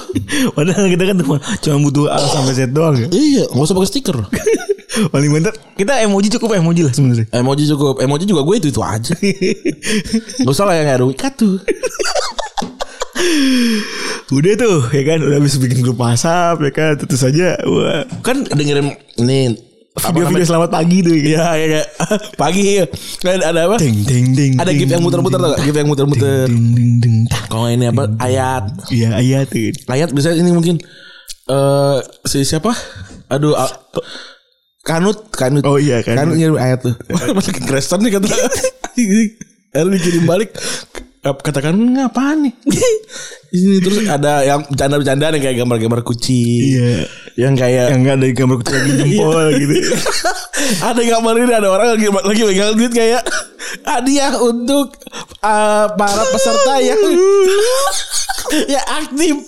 [SPEAKER 2] Padahal kita kan cuma, cuma butuh A sampai Z doang ya.
[SPEAKER 3] iya, gak usah pakai stiker.
[SPEAKER 2] Paling bentar kita emoji cukup emoji lah sebenarnya.
[SPEAKER 3] Emoji cukup, emoji juga gue itu itu aja. Gak usah lah yang RW tuh.
[SPEAKER 2] Udah tuh ya kan udah habis bikin grup WhatsApp ya kan tentu saja wah
[SPEAKER 3] Kan dengerin ini apa
[SPEAKER 2] video-video
[SPEAKER 3] namanya?
[SPEAKER 2] selamat pagi tuh ya.
[SPEAKER 3] Ya, ya, ya. Pagi ya. Kan ada apa?
[SPEAKER 2] Ding ding ding.
[SPEAKER 3] Ada gif yang muter-muter tau gak? Gif yang muter-muter.
[SPEAKER 2] Ding ding ding. tak.
[SPEAKER 3] Kalau nggak ini apa? Ayat.
[SPEAKER 2] Iya iya tuh.
[SPEAKER 3] Ayat bisa ini mungkin eh si siapa? Aduh, a- Kanut, Kanut.
[SPEAKER 2] Oh iya kan.
[SPEAKER 3] Kanut ngirim ayat tuh. Masih ke Kristen nih kata. Akhirnya dikirim balik. Eh, Katakan ngapain nih? Ini terus ada yang bercanda-bercanda yang kayak gambar-gambar kucing.
[SPEAKER 2] Iya.
[SPEAKER 3] Yang kayak
[SPEAKER 2] Yang enggak ada gambar kucing lagi
[SPEAKER 3] Iya.
[SPEAKER 2] jempol gitu.
[SPEAKER 3] ada gambar ini ada orang lagi lagi megang duit kayak hadiah untuk eh, para peserta yang ya aktif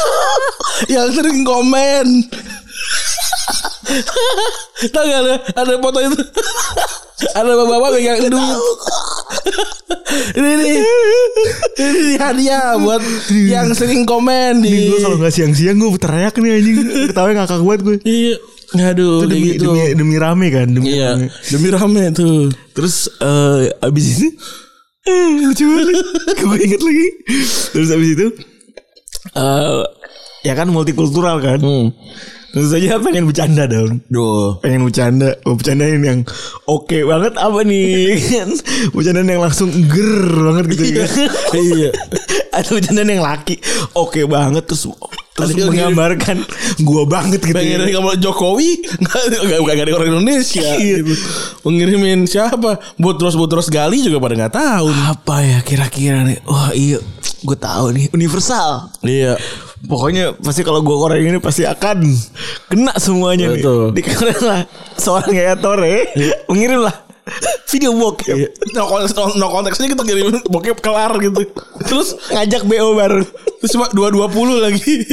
[SPEAKER 3] yang sering komen tau gak ada ada foto itu ada bapak-bapak megang duit ini ini ini hadiah buat yang sering komen
[SPEAKER 2] Ini
[SPEAKER 3] di
[SPEAKER 2] gue kalau nggak siang-siang gue teriak nih anjing. Ketawa ngakak buat gue.
[SPEAKER 3] Iya. aduh
[SPEAKER 2] Itu
[SPEAKER 3] kayak
[SPEAKER 2] demi,
[SPEAKER 3] gitu
[SPEAKER 2] demi, demi rame kan. Demi
[SPEAKER 3] Iya,
[SPEAKER 2] rame.
[SPEAKER 3] demi rame tuh.
[SPEAKER 2] Terus eh abis itu eh, lucu banget. Gue inget lagi. Terus abis itu eh ya kan multikultural kan.
[SPEAKER 3] Hmm.
[SPEAKER 2] Terus aja pengen bercanda dong.
[SPEAKER 3] Duh.
[SPEAKER 2] Pengen bercanda, mau bercandain yang oke banget apa nih? Kan? bercandaan yang langsung ger banget gitu kan.
[SPEAKER 3] iya.
[SPEAKER 2] Atau bercandaan yang laki oke banget terus terus
[SPEAKER 3] Tadi kan
[SPEAKER 2] menggambarkan gua banget gitu.
[SPEAKER 3] Pengen
[SPEAKER 2] ya.
[SPEAKER 3] kamu Jokowi nggak nggak nggak ada orang Indonesia.
[SPEAKER 2] Iya.
[SPEAKER 3] gitu. Mengirimin siapa? Butros Butros Gali juga pada nggak tahu.
[SPEAKER 2] Apa ya kira-kira nih? Wah, iya. Gue tahu nih, universal.
[SPEAKER 3] Iya.
[SPEAKER 2] Pokoknya pasti kalau gue koreng ini pasti akan kena semuanya nih.
[SPEAKER 3] Betul. Iya.
[SPEAKER 2] Dikoreng lah seorang kayak Tore mengirim lah video bokep.
[SPEAKER 3] No, konteks, no, no konteksnya kita kirimin bokep kelar gitu. Terus
[SPEAKER 2] Ngajak BO baru.
[SPEAKER 3] terus cuma dua dua puluh lagi.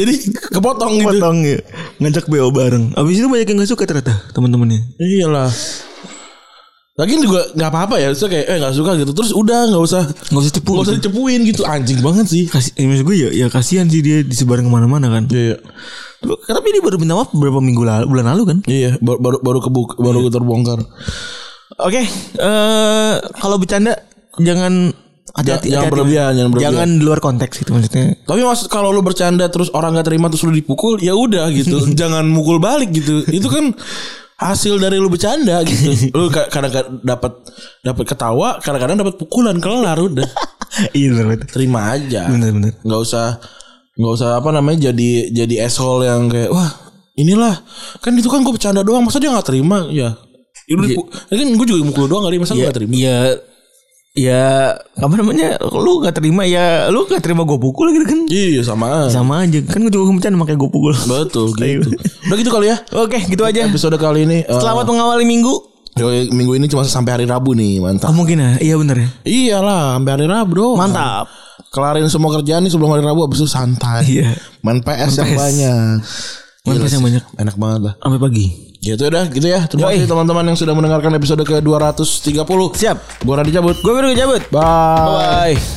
[SPEAKER 3] Jadi kepotong gitu.
[SPEAKER 2] Potong ya. Ngajak BO bareng. Abis itu banyak yang gak suka ternyata teman-temannya.
[SPEAKER 3] Iyalah. Lagian juga nggak apa-apa ya, terus kayak eh nggak suka gitu, terus udah nggak usah
[SPEAKER 2] Gak usah tipu.
[SPEAKER 3] nggak usah dicepuin gitu, anjing banget sih.
[SPEAKER 2] Kasih, ya, maksud gue ya, ya kasihan sih dia disebarin kemana-mana kan.
[SPEAKER 3] Iya,
[SPEAKER 2] Tapi dia baru minta maaf beberapa minggu lalu, bulan lalu kan.
[SPEAKER 3] iya, baru baru baru kebuk, baru terbongkar.
[SPEAKER 2] Oke, eh kalau bercanda jangan hati-hati.
[SPEAKER 3] jangan
[SPEAKER 2] hati-hati.
[SPEAKER 3] berlebihan, jangan berlebihan.
[SPEAKER 2] Jangan di luar konteks gitu maksudnya.
[SPEAKER 3] Tapi maksud kalau lu bercanda terus orang nggak terima terus lu dipukul, ya udah gitu. Jangan mukul balik gitu. Itu kan hasil dari lu bercanda gitu. Lu ka- kadang-kadang dapat dapat ketawa, kadang-kadang dapat pukulan kelar udah.
[SPEAKER 2] iya benar
[SPEAKER 3] Terima aja.
[SPEAKER 2] benar. Benar
[SPEAKER 3] Nggak usah nggak usah apa namanya jadi jadi asshole yang kayak wah inilah kan itu kan gue bercanda doang masa dia nggak terima ya Ini kan gue juga mukul doang kali masa gue nggak terima
[SPEAKER 2] Ya ya apa namanya? Lu gak terima ya lu gak terima gue pukul gitu kan.
[SPEAKER 3] iya sama aja.
[SPEAKER 2] Sama aja kan gue juga bercanda makanya gue pukul.
[SPEAKER 3] betul gitu udah gitu kali ya
[SPEAKER 2] Oke, gitu aja.
[SPEAKER 3] episode kali ini eh,
[SPEAKER 2] Selamat mengawali minggu.
[SPEAKER 3] Yoi, minggu ini cuma sampai hari Rabu nih,
[SPEAKER 2] Oh,
[SPEAKER 3] mantap.
[SPEAKER 2] mungkin ya. Iya benar ya.
[SPEAKER 3] Iyalah, sampai hari Rabu dong.
[SPEAKER 2] Mantap.
[SPEAKER 3] Kelarin semua kerjaan nih sebelum hari Rabu habis itu santai.
[SPEAKER 2] Iya.
[SPEAKER 3] Main PS yang
[SPEAKER 2] PS.
[SPEAKER 3] banyak.
[SPEAKER 2] Main
[SPEAKER 3] Gila
[SPEAKER 2] PS yang
[SPEAKER 3] sih,
[SPEAKER 2] banyak.
[SPEAKER 3] Enak banget lah.
[SPEAKER 2] Sampai pagi.
[SPEAKER 3] Gitu ya udah, gitu ya. Terima
[SPEAKER 2] Yoi.
[SPEAKER 3] kasih teman-teman yang sudah mendengarkan episode ke-230.
[SPEAKER 2] Siap.
[SPEAKER 3] Gua Raditya cabut.
[SPEAKER 2] Gue baru cabut.
[SPEAKER 3] Bye.
[SPEAKER 2] Bye.